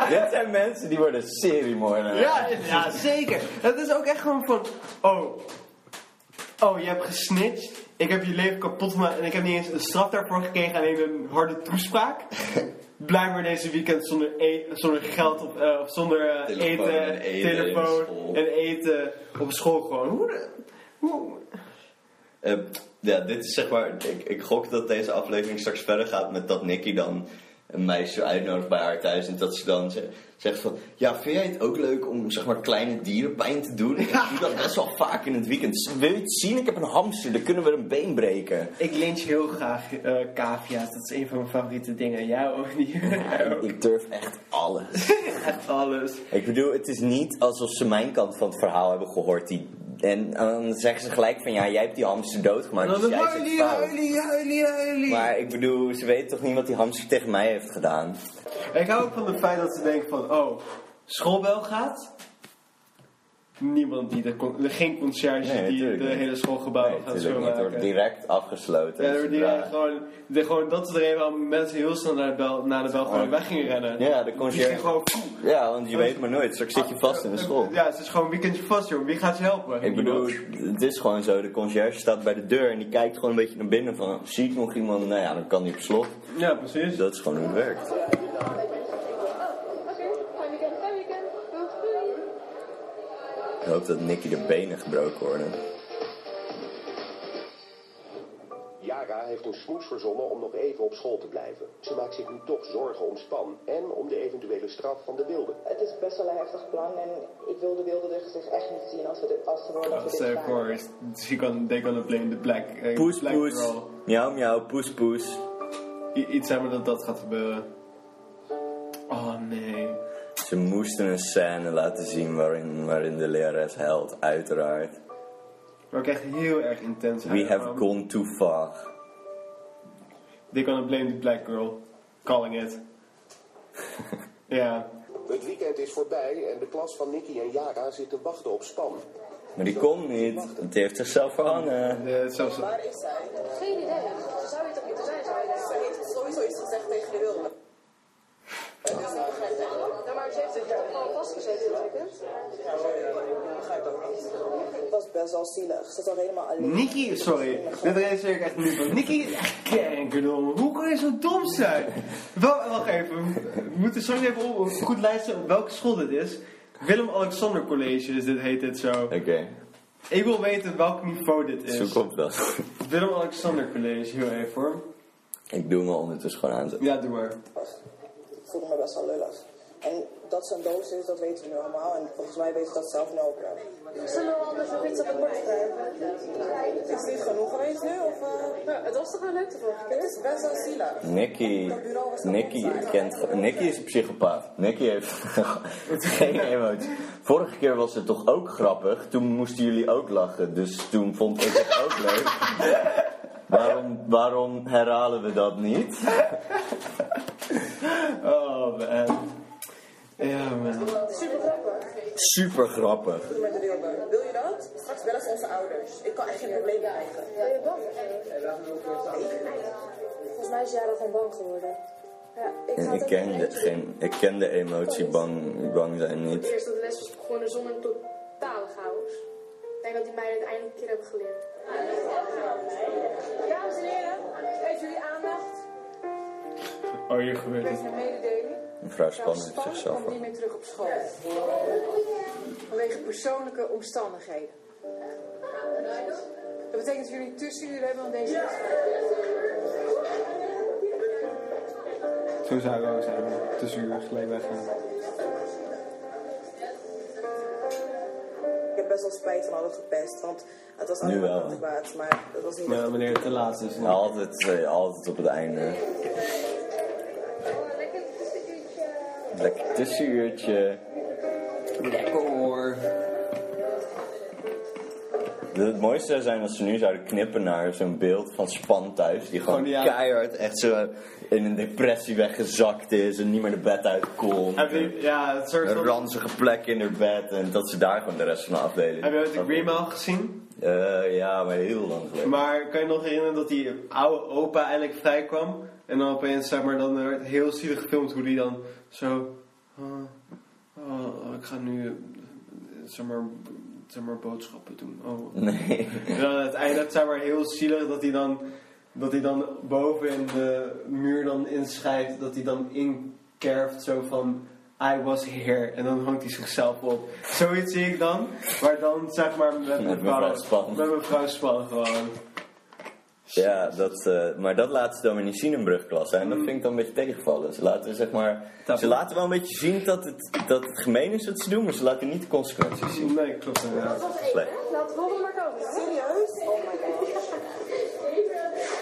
[SPEAKER 2] Dit zijn mensen die worden seriemoordenaar.
[SPEAKER 1] Ja, ja, zeker. Het is ook echt gewoon van... Oh, oh je hebt gesnitcht. Ik heb je leven kapot gemaakt. En ik heb niet eens een straf daarvoor gekregen. Alleen een harde
[SPEAKER 2] [LAUGHS]
[SPEAKER 1] toespraak. Blijkbaar deze weekend zonder, e- zonder geld. Of, eh, of zonder eh,
[SPEAKER 2] Telefoon
[SPEAKER 1] eten,
[SPEAKER 2] en eten
[SPEAKER 1] Telefoon
[SPEAKER 2] op school.
[SPEAKER 1] en eten. Op school gewoon. Hoe... de- hoe
[SPEAKER 2] Eh, ja, dit is zeg maar. Ik, ik gok dat deze aflevering straks verder gaat met dat Nicky dan een meisje uitnodigt bij haar thuis. En dat ze dan ze- zegt van. Ja, vind jij het ook leuk om zeg maar kleine dieren pijn te doen? Ik doe dat best wel vaak in het weekend. Wil je het zien? Ik heb een hamster, dan kunnen we een been breken.
[SPEAKER 1] ik lynch heel graag eh cavia's. Dat is een van mijn favoriete dingen. Jij ook niet.
[SPEAKER 2] Ik, ik durf echt alles.
[SPEAKER 1] [LAUGHS] Echt alles.
[SPEAKER 2] ik bedoel, het is niet alsof ze mijn kant van het verhaal hebben gehoord. Die, en dan zeggen ze gelijk van ja, jij hebt die hamster doodgemaakt.
[SPEAKER 1] Dan
[SPEAKER 2] Dus jij zit
[SPEAKER 1] huilie,
[SPEAKER 2] fout.
[SPEAKER 1] huilie, huilie, huilie.
[SPEAKER 2] Maar ik bedoel, ze weten toch niet wat die hamster tegen mij heeft gedaan?
[SPEAKER 1] Ik hou ook van het feit dat ze denken van, oh, schoolbel gaat. Niemand die de, con- geen conciërge
[SPEAKER 2] Nee,
[SPEAKER 1] die
[SPEAKER 2] tuurlijk
[SPEAKER 1] de
[SPEAKER 2] niet.
[SPEAKER 1] hele schoolgebouw
[SPEAKER 2] Nee,
[SPEAKER 1] gaat
[SPEAKER 2] natuurlijk niet. Het wordt
[SPEAKER 1] schoonmaken.
[SPEAKER 2] direct afgesloten.
[SPEAKER 1] Ja, door die
[SPEAKER 2] Zodra-
[SPEAKER 1] gewoon, de, gewoon, dat is de reden waarom mensen heel snel naar de bel, naar de bel gewoon weg gingen rennen.
[SPEAKER 2] Ja, de
[SPEAKER 1] Die gingen
[SPEAKER 2] conciërge.
[SPEAKER 1] gewoon...
[SPEAKER 2] Ja, want je weet maar nooit. Straks zit je vast in de school.
[SPEAKER 1] Ja, het is gewoon weekendje vast, joh. Wie gaat je helpen?
[SPEAKER 2] Ik bedoel,
[SPEAKER 1] Niemand.
[SPEAKER 2] het is gewoon zo. De conciërge staat bij de deur en die kijkt gewoon een beetje naar binnen van... Zie ik nog iemand? Nou ja, dan kan die op slot.
[SPEAKER 1] Ja, precies.
[SPEAKER 2] Dat is gewoon hoe het werkt.
[SPEAKER 5] Oké, fijn weekend, fijn weekend. Doei.
[SPEAKER 2] Ik hoop dat Nicky de benen gebroken worden.
[SPEAKER 3] Yara heeft een smoes verzonnen om nog even op school te blijven. Ze maakt zich nu toch zorgen om Span en om de eventuele straf van de wilde.
[SPEAKER 9] Het is best wel een heftig plan en ik wil de wilde dus zich echt niet zien als, we dit, als ze horen dat
[SPEAKER 1] Oh,
[SPEAKER 9] we
[SPEAKER 1] Stel
[SPEAKER 9] dit
[SPEAKER 1] je voor,
[SPEAKER 9] gaan.
[SPEAKER 1] is- she gonna- they gonna blame the black, eh,
[SPEAKER 2] Poes,
[SPEAKER 1] black
[SPEAKER 2] poes.
[SPEAKER 1] girl.
[SPEAKER 2] Miauw, miauw. Poes, poes.
[SPEAKER 1] I- iets hebben dat dat gaat gebeuren. Oh nee.
[SPEAKER 2] Ze moesten een scène laten zien waarin, waarin de lerares huilt, uiteraard.
[SPEAKER 1] Maar ook echt heel erg intens.
[SPEAKER 2] We have
[SPEAKER 1] Um,
[SPEAKER 2] gone too far.
[SPEAKER 1] They're gonna blame the black girl. Calling
[SPEAKER 2] [LAUGHS]
[SPEAKER 1] it. ja.
[SPEAKER 3] Het weekend is voorbij en de klas van Nicky en Yara zit te wachten op Span.
[SPEAKER 2] Maar die kon niet, want die heeft zichzelf verhangen.
[SPEAKER 1] eh, zelfs,
[SPEAKER 9] Waar is zij?
[SPEAKER 8] Geen idee. Ze zou hier toch niet te zijn, zou je denken.
[SPEAKER 9] Ze heeft sowieso iets gezegd tegen de wilde.
[SPEAKER 8] Nou, maar ze heeft zich toch gewoon vastgezeten dit weekend?
[SPEAKER 9] Het was best wel zielig. Ze zat helemaal alleen.
[SPEAKER 1] Nicky, sorry. Dit realiseer ik echt niet van. Nicky is echt kankerdom. Hoe kan je zo dom zijn? Wel, wacht even. We moeten straks even op- goed luisteren op welke school dit is. Willem-Alexander College is dit, heet dit zo.
[SPEAKER 2] Oké,
[SPEAKER 1] Ik wil weten welk niveau dit is.
[SPEAKER 2] zoek op dat.
[SPEAKER 1] Het Willem-Alexander College, heel even hoor.
[SPEAKER 2] ik doe me ondertussen gewoon aan.
[SPEAKER 1] Ja, doe maar.
[SPEAKER 9] Ik voelde me best wel lullig. En dat ze een doos is, dat weten we nu allemaal. En volgens mij weten ze dat zelf nu ook wel.
[SPEAKER 4] Zullen we anders nog iets op het bord schrijven?
[SPEAKER 9] Is dit genoeg geweest nu? Of, eh?
[SPEAKER 8] Nou, het was toch wel leuk de vorige keer?
[SPEAKER 9] Het is best wel zielig.
[SPEAKER 2] Nicky, Nicky, kent, ge- Nicky is een psychopaat. Nicky heeft [LAUGHS] geen emotie. Vorige keer was het toch ook grappig. Toen moesten jullie ook lachen. Dus toen vond ik het ook leuk. Waarom, waarom herhalen we dat niet?
[SPEAKER 1] Oh man. Ja man.
[SPEAKER 9] Super grappig.
[SPEAKER 2] Super grappig.
[SPEAKER 9] Doe met de deelbeurt. Wil je dat? Straks bellen ze onze ouders. Ik kan echt geen probleem krijgen.
[SPEAKER 4] Wil je bang? Volgens mij is Jara van bang geworden. Ja, ik ga
[SPEAKER 2] En
[SPEAKER 4] het
[SPEAKER 2] ik
[SPEAKER 4] ook
[SPEAKER 2] ken
[SPEAKER 4] niet
[SPEAKER 2] de,
[SPEAKER 4] doen.
[SPEAKER 2] geen, ik ken de emotie bang, bang zijn
[SPEAKER 8] Het
[SPEAKER 2] niet.
[SPEAKER 8] eerst dat de les was begonnen zonder een totale chaos. Ik denk dat die meiden het eindelijk een keer hebben geleerd.
[SPEAKER 6] Dames en heren, geef jullie aandacht.
[SPEAKER 1] Oh, hier gebeurt
[SPEAKER 6] Met
[SPEAKER 1] het.
[SPEAKER 6] een mededeling.
[SPEAKER 2] Mevrouw Span heeft
[SPEAKER 7] Span
[SPEAKER 2] zichzelf
[SPEAKER 7] komt
[SPEAKER 2] voor.
[SPEAKER 7] niet meer terug op school. Vanwege persoonlijke omstandigheden. Dat betekent dat jullie tussen jullie hebben aan deze les.
[SPEAKER 1] Zo zou ik ook zijn. Tussen uur gelijk weggaan.
[SPEAKER 9] Ik heb best wel spijt van alle gepest, want het was
[SPEAKER 2] Nu wel,
[SPEAKER 9] allemaal
[SPEAKER 2] hè?
[SPEAKER 9] kwaad, maar het was niet
[SPEAKER 1] Maar wanneer het te laat is.
[SPEAKER 2] Ja, altijd, eh, altijd op het einde. Lekker tussenuurtje.
[SPEAKER 1] Lekker hoor.
[SPEAKER 2] Het mooiste zou zijn als ze nu zouden knippen naar zo'n beeld van Span thuis. Die gewoon
[SPEAKER 1] Gewoon, ja.
[SPEAKER 2] keihard echt zo in een depressie weggezakt is en niet meer de bed uit kon.
[SPEAKER 1] Heb je, ja, het soort
[SPEAKER 2] Een
[SPEAKER 1] van...
[SPEAKER 2] ranzige plek in haar bed en dat ze daar gewoon de rest van de afdeling.
[SPEAKER 1] Heb je ooit de Green Mile gezien?
[SPEAKER 2] Eh, ja, maar heel lang geleden.
[SPEAKER 1] Maar kan je nog herinneren dat die oude opa eindelijk vrij kwam? En dan opeens, zeg maar, dan werd heel zielig gefilmd hoe die dan zo... Oh, oh, ik ga nu, eh, zeg maar, zeg maar boodschappen doen. Oh,
[SPEAKER 2] [LAUGHS] Nee.
[SPEAKER 1] En dan uiteindelijk zijn maar heel zielig dat hij dan, dat hij dan boven in de muur dan inschrijft, dat hij dan inkerft zo van I was here en dan hangt hij zichzelf op. Zoiets zie ik dan, maar dan zeg maar met,
[SPEAKER 2] mevrouw Span.
[SPEAKER 1] Met mevrouw Span gewoon.
[SPEAKER 2] Ja, dat, eh, maar dat laten ze dan weer niet zien in brugklasse. En dat
[SPEAKER 1] Mm.
[SPEAKER 2] vind ik dan een beetje tegenvallen. Ze laten, zeg maar,
[SPEAKER 1] Dat-
[SPEAKER 2] ze laten wel een beetje zien dat het, dat het gemeen is wat ze doen, maar ze laten niet de consequenties zien.
[SPEAKER 1] Nee, klopt inderdaad.
[SPEAKER 2] Slecht.
[SPEAKER 8] Laat het volgende maar komen.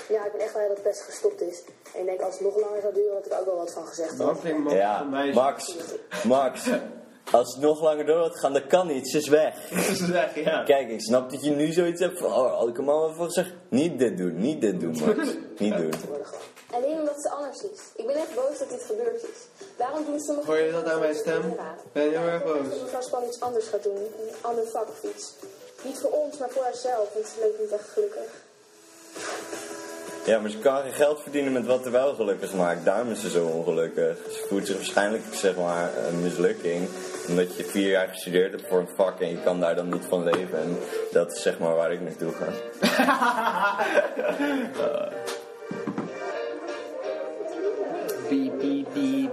[SPEAKER 4] Ja, ik ben echt blij dat het best gestopt is. En ik denk als het nog langer zou duren, had ik ook wel wat van gezegd.
[SPEAKER 1] Dan klinkt man
[SPEAKER 2] Ja,
[SPEAKER 1] van meisje.
[SPEAKER 2] Max, Max, als het nog langer door gaat gaan, dat kan niet, ze is weg.
[SPEAKER 1] [LAUGHS] Ze zeggen ja. [LAUGHS]
[SPEAKER 2] Kijk, ik snap dat je nu zoiets hebt van, oh, had ik hem al even gezegd. Niet dit doen, niet dit doen, [LAUGHS] Max. Niet doen.
[SPEAKER 5] Alleen omdat ze anders is. Ik ben echt boos dat dit gebeurd is. Waarom doen sommige
[SPEAKER 1] Hoor je dat aan mijn stem? Ben je heel erg boos?
[SPEAKER 5] mevrouw Span iets anders gaat doen, een ander vak of iets. Niet voor ons, maar voor haarzelf, want ze leek niet echt gelukkig.
[SPEAKER 2] Ja, maar ze kan geen geld verdienen met wat er wel gelukkig maakt. Daarom is ze zo ongelukkig. Ze voelt zich waarschijnlijk, zeg maar, een mislukking. Omdat je vier jaar gestudeerd hebt voor een vak en je kan daar dan niet van leven. En dat is zeg maar waar ik naartoe ga.
[SPEAKER 1] Piep, piep, piep.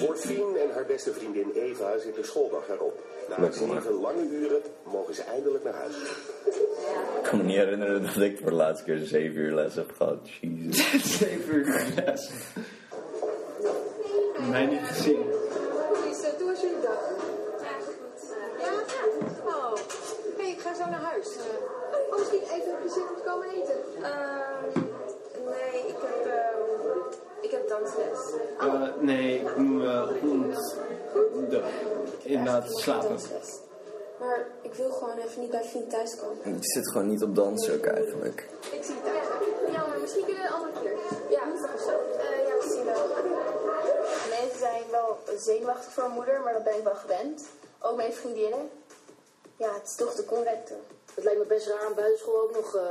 [SPEAKER 3] Morfien en haar beste vriendin Eva zitten schooldag erop. Na een
[SPEAKER 2] Lekker,
[SPEAKER 3] serie
[SPEAKER 2] hoor.
[SPEAKER 3] van lange uren mogen ze eindelijk naar huis.
[SPEAKER 2] Ik kan me niet herinneren dat ik voor de laatste keer zeven uur les heb gehad. Jezus.
[SPEAKER 1] Zeven uur les. Mij niet gezien.
[SPEAKER 7] Dus eh, doe eens jullie dag. Ja, goed. Oh. Hé, ik ga zo naar huis. Eh, oh, misschien even plezier om te komen eten.
[SPEAKER 5] Ehm, nee, ik heb, ehm, ik heb dansles.
[SPEAKER 1] Eh, nee, ik moet eh, ont- de- inderdaad slapen.
[SPEAKER 5] Maar ik wil gewoon even niet bij Fien thuiskomen.
[SPEAKER 2] Ik zit gewoon niet op dans ook eigenlijk.
[SPEAKER 5] Ik zie het thuis. Ja, maar misschien kunnen we een andere keer. Ja, is toch zo? ja, misschien wel. Mensen zijn wel zenuwachtig voor hun moeder, maar dat ben ik wel gewend. Ook mijn vriendinnen. Ja, het is toch de correcte.
[SPEAKER 10] Het lijkt me best raar om buitenschool ook nog eh,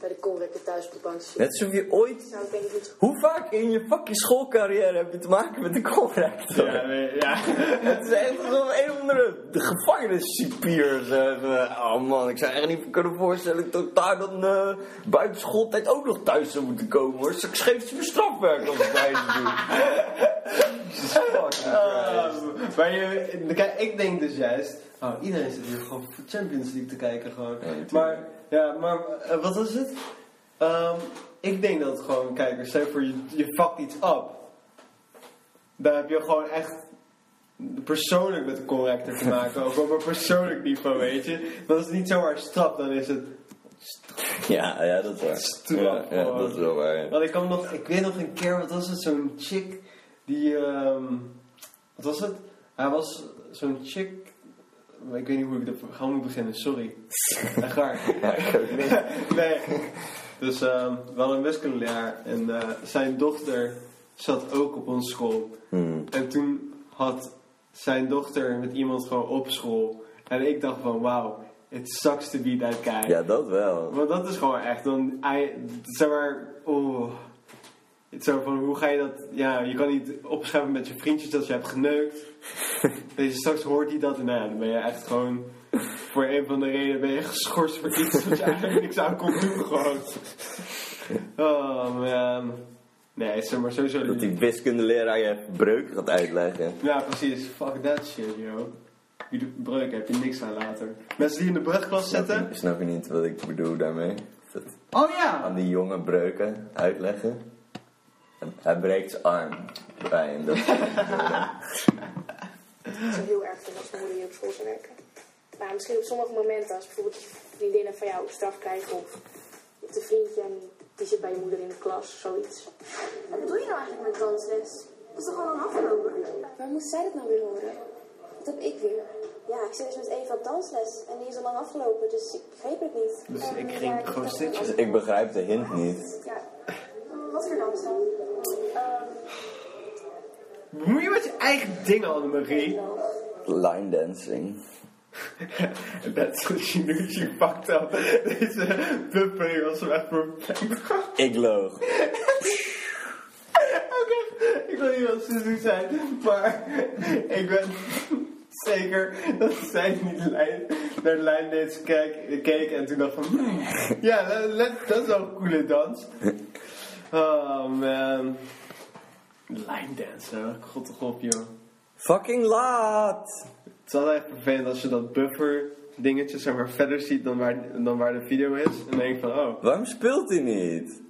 [SPEAKER 10] bij de conrector thuis op de bank te zitten.
[SPEAKER 2] Net alsof je ooit...
[SPEAKER 5] Nou, ik denk niet.
[SPEAKER 2] Hoe vaak in je fucking schoolcarrière heb je te maken met een corrector?
[SPEAKER 1] Ja, nee, ja.
[SPEAKER 2] Het is echt alsof een of andere de gevangenissipier. zeg. Eh, Oh man, ik zou echt niet kunnen voorstellen dat ik daar dan eh buiten schooltijd ook nog thuis zou moeten komen hoor. Dus ik geef ze mijn strafwerk als ik bij ze doe. Jesus fucking Christ.
[SPEAKER 1] Eh, Maar je, kijk, ik denk dus juist, oh, iedereen zit hier gewoon voor Champions League te kijken gewoon.
[SPEAKER 2] natuurlijk.
[SPEAKER 1] maar, ja, maar eh, wat was het? Ehm, ik denk dat het gewoon, kijkers zijn voor je, je fuckt iets op. Daar heb je gewoon echt persoonlijk met de corrector te maken, ook op een persoonlijk niveau, weet je. Dat is niet zomaar straf, dan is het
[SPEAKER 2] [LAUGHS] Ja, ja, dat is waar. Ja,
[SPEAKER 1] Straf,
[SPEAKER 2] ja,
[SPEAKER 1] gewoon.
[SPEAKER 2] dat is wel waar. ja.
[SPEAKER 1] Want ik, kan nog, ik weet nog een keer, wat was het, zo'n chick die, ehm, wat was het? Hij was zo'n chick, ik weet niet hoe ik dat gewoon moet beginnen,
[SPEAKER 2] [LAUGHS]
[SPEAKER 1] sorry. Echt waar.
[SPEAKER 2] Ja, ik ook niet.
[SPEAKER 1] [LAUGHS] nee. Dus ehm, wel een wiskundeleraar en eh, zijn dochter zat ook op onze school.
[SPEAKER 2] Hmm.
[SPEAKER 1] En toen had zijn dochter met iemand gewoon op school. En ik dacht van, wauw, it sucks to be that guy.
[SPEAKER 2] Ja, dat wel.
[SPEAKER 1] Want dat is gewoon echt dan, ei- zeg maar, oeh. Het is zo van, hoe ga je dat, ja, je kan niet opschrijven met je vriendjes dat je hebt
[SPEAKER 2] [LAUGHS]
[SPEAKER 1] geneukt. Weet je, straks hoort hij dat en nou ja, dan ben je echt gewoon, voor een van de redenen ben je geschorst voor iets wat je eigenlijk niks aan kon doen
[SPEAKER 2] [LAUGHS]
[SPEAKER 1] gewoon. Oh man. Nee, zeg maar, sowieso.
[SPEAKER 2] Dat die wiskundeleraar je breuk gaat uitleggen.
[SPEAKER 1] Ja, precies. Fuck that shit, yo. Die breuk heb je niks aan later. Mensen die in de brugklas zitten.
[SPEAKER 2] Ik snap je niet wat ik bedoel daarmee? Dat
[SPEAKER 1] Oh ja!
[SPEAKER 2] aan die jongen breuken uitleggen. En Hij breekt zijn arm bij hem. Dat
[SPEAKER 1] [LAUGHS]
[SPEAKER 4] Het is wel heel erg dat als moeder hier op school zou werken. Maar misschien op sommige momenten, als bijvoorbeeld vriendinnen van jou straf krijgen of je hebt een vriendje en die zit bij je moeder in de klas, zoiets.
[SPEAKER 5] Wat bedoel je nou eigenlijk met dansles? Dat is toch gewoon afgelopen? Waar moest zij dat nou weer horen? Dat heb ik weer. Ja, ik zit dus met Eva op dansles en die is al lang afgelopen, dus ik begreep het niet.
[SPEAKER 1] Dus ik ging
[SPEAKER 5] ging
[SPEAKER 1] gewoon stukjes.
[SPEAKER 2] Dus ik begrijp de hint niet.
[SPEAKER 5] Ja, wat voor dans dan? Ehm,
[SPEAKER 1] Moet je met je eigen dingen, Annemarie?
[SPEAKER 2] Line dancing.
[SPEAKER 1] That's what she knew she fucked up. Deze puppy was hem echt perfect.
[SPEAKER 2] Ik loog.
[SPEAKER 1] Oké, ik wil niet racistisch zijn, maar ik ben zeker dat zij niet lijn, naar de lijn deze keek, keek en toen dacht van, hmm, ja, dat- dat- dat is wel een coole dans. Oh man. Lijndance, hè? God toch op, joh.
[SPEAKER 2] Fucking laat!
[SPEAKER 1] Het is altijd echt vervelend als je dat buffer dingetje zeg maar verder ziet dan waar, dan waar de video is. En dan denk je van, oh,
[SPEAKER 2] Waarom speelt hij niet?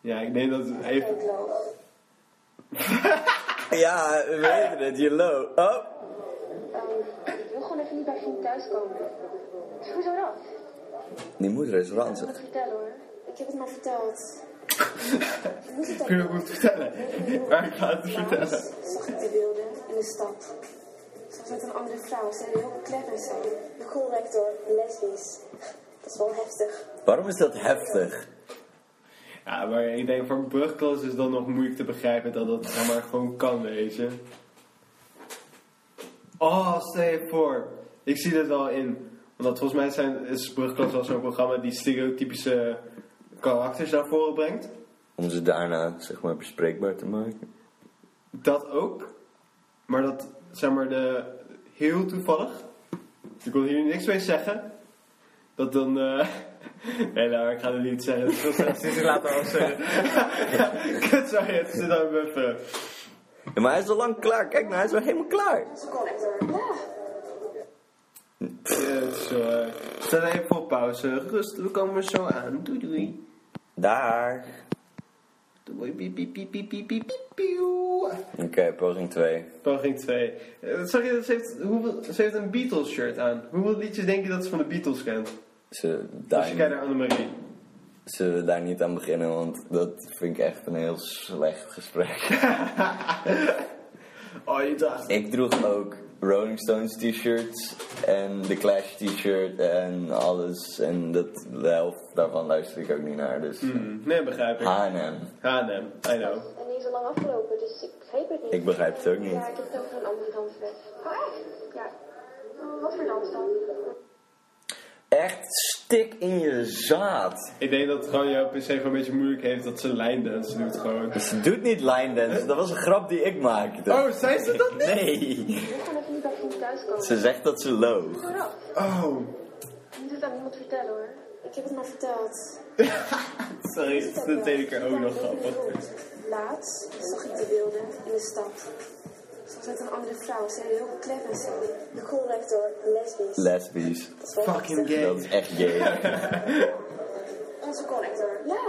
[SPEAKER 1] ja, ik denk dat het even...
[SPEAKER 2] Ja, we weten het, je loopt. Oh!
[SPEAKER 5] ehm, Ik wil gewoon even niet bij Fien thuiskomen. Hoezo dat?
[SPEAKER 2] Die moeder is
[SPEAKER 5] Ik moet
[SPEAKER 2] ranzig.
[SPEAKER 5] het vertellen hoor. Ik heb het maar [LAUGHS] verteld. Ik moet het
[SPEAKER 1] Kun je goed vertellen? Maar ik ga het vertellen.
[SPEAKER 5] zag ik de wilde in de stad. Ze was met een andere vrouw. Ze hebben heel klep en zo. De schoolrector, lesbisch. Dat is wel heftig.
[SPEAKER 2] Waarom is dat heftig?
[SPEAKER 1] Ja, maar ik denk voor een brugklas is het dan nog moeilijk te begrijpen dat dat zeg maar gewoon kan, weet je. Oh, stel je voor. Ik zie dit al in. Want volgens mij zijn, is brugklas wel zo'n programma die stereotypische karakters naar voren brengt.
[SPEAKER 2] Om ze daarna, zeg maar, bespreekbaar te maken.
[SPEAKER 1] Dat ook. Maar dat, zeg maar, de, heel toevallig. Ik wil hier niks mee zeggen. Dat dan... eh [LAUGHS] nee, nou, ik ga het niet zeggen. [LAUGHS] Dat is wel sinds later al zeggen. Kut, sorry. Het zit aan mijn bufferen.
[SPEAKER 2] Ja, maar hij is al lang klaar. Kijk nou, hij is wel helemaal klaar.
[SPEAKER 1] Yes, hoor. Eh, Stel even op pauze. Rustig, we komen zo aan. Doei, doei.
[SPEAKER 2] Daar.
[SPEAKER 1] Doei, piep, piep, piep, piep, piep, piep, piep, pieuw.
[SPEAKER 2] Oké, poging 2.
[SPEAKER 1] Poging 2. Zag je, dat ze heeft, hoeveel, ze heeft een Beatles shirt aan. Hoeveel liedjes denk je dat ze van de Beatles kent?
[SPEAKER 2] Ze
[SPEAKER 1] Als je
[SPEAKER 2] daar
[SPEAKER 1] kijkt naar Annemarie.
[SPEAKER 2] Zullen we daar niet aan beginnen, want dat vind ik echt een heel slecht gesprek. [LAUGHS]
[SPEAKER 1] Oh, je dacht.
[SPEAKER 2] ik droeg ook Rolling Stones t-shirts en The Clash t-shirt en alles. En dat, de helft daarvan luister ik ook niet naar, dus...
[SPEAKER 1] Hmm, Nee, begrijp ik.
[SPEAKER 2] H&M.
[SPEAKER 1] H&M, I know.
[SPEAKER 5] En die is al lang afgelopen, dus ik begreep het niet.
[SPEAKER 2] Ik begrijp het ook niet.
[SPEAKER 5] Ja, ik heb het over een andere dansles. Oh, echt? Ja. Oh, Wat voor dans dan?
[SPEAKER 2] Echt stik in je zaad.
[SPEAKER 1] Ik denk dat gewoon jouw pc gewoon een beetje moeilijk heeft dat ze lijndance doet gewoon.
[SPEAKER 2] Ze doet niet line dance, dat was een grap die ik maakte.
[SPEAKER 1] Oh, zei ze dat niet?
[SPEAKER 2] Nee.
[SPEAKER 5] Ik wil gewoon even niet bij Fien thuiskomen.
[SPEAKER 2] Ze zegt dat ze loog.
[SPEAKER 5] Hoezo dat?
[SPEAKER 1] Oh,
[SPEAKER 5] Ik moet het aan niemand vertellen hoor. Ik heb het maar verteld.
[SPEAKER 1] sorry. Dat deed ik er ook nog grappig.
[SPEAKER 5] Laatst zag ik de wilde in de stad. Ze was met een andere vrouw. Ze hebben heel veel klep en zo. De co-rector, lesbisch.
[SPEAKER 2] Lesbisch.
[SPEAKER 5] Dat is wel
[SPEAKER 1] Fucking
[SPEAKER 5] lastig.
[SPEAKER 1] gay.
[SPEAKER 2] Dat is echt
[SPEAKER 1] [LAUGHS]
[SPEAKER 2] gay. [LAUGHS]
[SPEAKER 5] Onze co-rector.
[SPEAKER 11] Ja,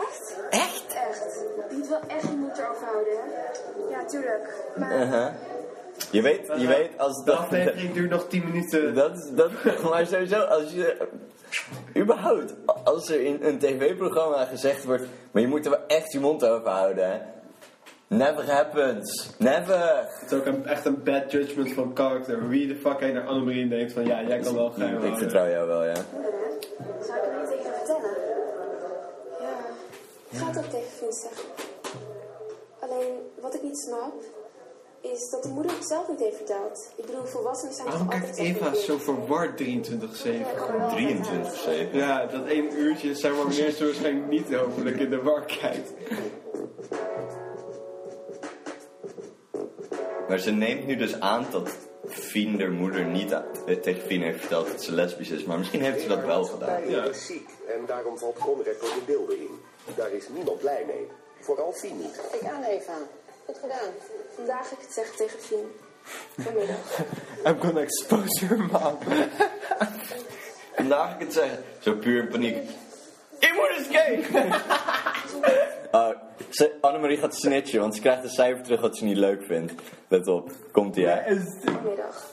[SPEAKER 5] Echt? Echt? Echt. Je moet wel echt je moed erover houden, hè?
[SPEAKER 11] ja, tuurlijk. Maar
[SPEAKER 2] Uh-huh. Je weet, je weet als
[SPEAKER 1] De
[SPEAKER 2] dat...
[SPEAKER 1] aflevering duurt nog 10 minuten.
[SPEAKER 2] Dat is, dat, [LAUGHS] maar sowieso, als je... Überhaupt, als er in een tv-programma gezegd wordt... Maar je moet er wel echt je mond over houden, hè. Never happens. Never.
[SPEAKER 1] Het is ook een, echt een bad judgment van karakter. Wie de fuck hij naar Annemarie denkt van ja, jij kan wel geheim
[SPEAKER 2] Ik
[SPEAKER 1] houden.
[SPEAKER 2] vertrouw jou wel, ja.
[SPEAKER 5] Zou ik er niet tegen vertellen? Ja. Ik ga het ook tegen Vin zeggen. Alleen, wat ik niet snap, is dat de moeder het zelf niet heeft verteld. Ik bedoel, volwassenen zijn
[SPEAKER 1] Waarom
[SPEAKER 5] toch
[SPEAKER 1] kijkt
[SPEAKER 5] altijd zelf
[SPEAKER 1] Eva
[SPEAKER 5] niet
[SPEAKER 1] zo verward 23-7?
[SPEAKER 5] meer-
[SPEAKER 2] 23 7.
[SPEAKER 1] Ja, dat één uurtje zijn maar [LAUGHS] wanneer ze waarschijnlijk niet hopelijk in de war kijkt.
[SPEAKER 2] Maar ze neemt nu dus aan dat Fien haar moeder niet aan- eh, tegen Fien heeft verteld dat ze lesbisch is. Maar misschien heeft ze dat wel gedaan.
[SPEAKER 1] Ja.
[SPEAKER 3] is ziek en daarom valt Conrector de beelden in. Daar is niemand blij mee. Vooral Fien niet.
[SPEAKER 6] Kijk aan, Eva. Goed gedaan.
[SPEAKER 5] Vandaag heb ik het zeggen tegen Vin. Vanmiddag.
[SPEAKER 1] I'm gonna expose your mom.
[SPEAKER 2] Vandaag kan ik het zeggen. Zo puur in paniek. Ik moet eens kijken! Oh, ze- Annemarie gaat snitchen, want ze krijgt een cijfer terug wat ze niet leuk vindt. Let op, komt ie hè?
[SPEAKER 5] Vanmiddag.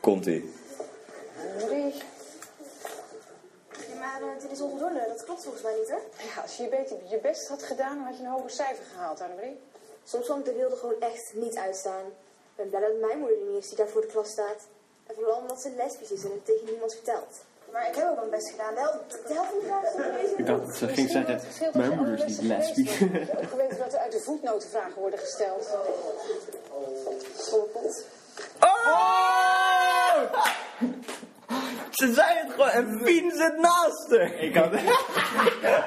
[SPEAKER 2] Komt ie.
[SPEAKER 5] maar eh, dit is onvoldoende. Dat klopt volgens mij niet, hè?
[SPEAKER 6] Ja, als je je, beetje, je best had gedaan, dan had je een hoger cijfer gehaald, Annemarie.
[SPEAKER 5] Soms kan ik de wilde gewoon echt niet uitstaan. Ik ben blij dat het mijn moeder er niet is die daar voor de klas staat. En vooral omdat ze lesbisch is en het tegen niemand vertelt. Maar ik heb ook mijn best gedaan. De helft, de helft van de vragen stond niet eens in
[SPEAKER 1] Ik
[SPEAKER 5] de
[SPEAKER 1] dacht dat ze ging zeggen,
[SPEAKER 6] Verschil
[SPEAKER 1] mijn
[SPEAKER 6] tussen
[SPEAKER 1] moeder is niet
[SPEAKER 6] alle lessen
[SPEAKER 1] lesbisch.
[SPEAKER 6] geweest, dan.
[SPEAKER 1] [LAUGHS]
[SPEAKER 6] Je hebt ook geweten dat er uit de voetnoten vragen worden gesteld.
[SPEAKER 5] schoolpot.
[SPEAKER 2] Oh! Ze zei het gewoon en Fien zit naast haar. Ik had... [LAUGHS]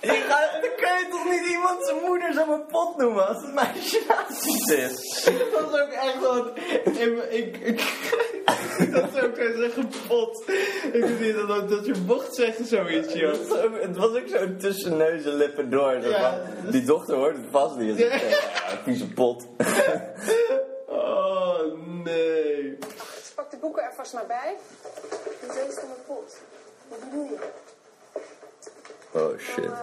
[SPEAKER 2] Ik ga, dan kun je toch niet iemand zijn moeder zo mijn pot noemen als het meisje naast je is?
[SPEAKER 1] Dat is ook echt wat. Ik. ik, ik dat zou ik kunnen zeggen, pot. Ik weet niet dat, dat je mocht zeggen zoiets, joh.
[SPEAKER 2] Het was ook- Het was ook zo tussen neus en lippen door. zo
[SPEAKER 1] Ja.
[SPEAKER 2] van, Die dochter hoort het vast niet. Ja. Vieze pot.
[SPEAKER 1] Oh nee.
[SPEAKER 6] Dus pak de boeken er vast maar bij.
[SPEAKER 5] Een zeus van mijn pot. Wat bedoel je?
[SPEAKER 2] Oh shit.
[SPEAKER 5] Eh,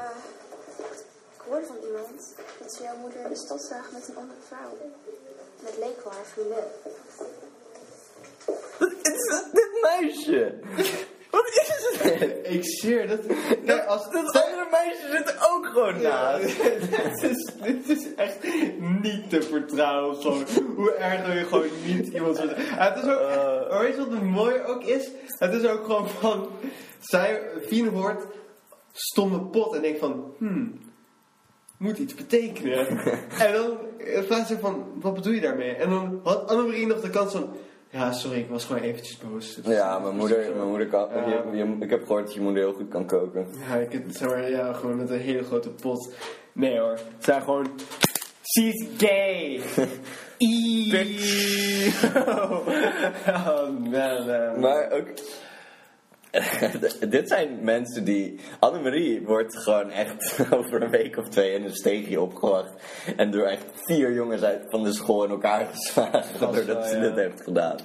[SPEAKER 5] ik hoorde van iemand dat ze jouw moeder in de stad zagen met een andere vrouw. En het leek wel haar vriendin.
[SPEAKER 2] Wat is dit meisje? Wat is dit?
[SPEAKER 1] Ik zeer dat. Nee, als
[SPEAKER 2] Dat andere meisje zit er ook gewoon
[SPEAKER 1] Ja, [LAUGHS]
[SPEAKER 2] naast.
[SPEAKER 1] dit, is, dit is echt niet te vertrouwen. Gewoon. Hoe erg wil je gewoon niet iemand vertrouwen. Het is ook, maar weet je wat het mooie ook is? Het is ook gewoon van, zij, Fien hoort stomme pot en denkt van, hmm, moet iets betekenen. [LAUGHS] en dan eh, vraagt ze van, wat bedoel je daarmee? En dan had Annemarie nog de kans van, ja sorry, ik was gewoon eventjes boos. Het was-
[SPEAKER 2] Ja, mijn moeder, mijn moeder kan.
[SPEAKER 1] Ja.
[SPEAKER 2] je- je- ik heb gehoord dat je moeder heel goed kan koken.
[SPEAKER 1] Ja, ik heb, zeg maar, ja, gewoon met een hele grote pot. Nee hoor, het zijn gewoon... She's gay! [LAUGHS] Eee. Oh man, man.
[SPEAKER 2] Maar ook. [LAUGHS] Dit zijn mensen die. Annemarie wordt gewoon echt [LAUGHS] over een week of twee in een steegje opgewacht. En door echt vier jongens uit van de school in elkaar geslagen.
[SPEAKER 1] wel,
[SPEAKER 2] doordat ze
[SPEAKER 1] ja.
[SPEAKER 2] dit heeft gedaan.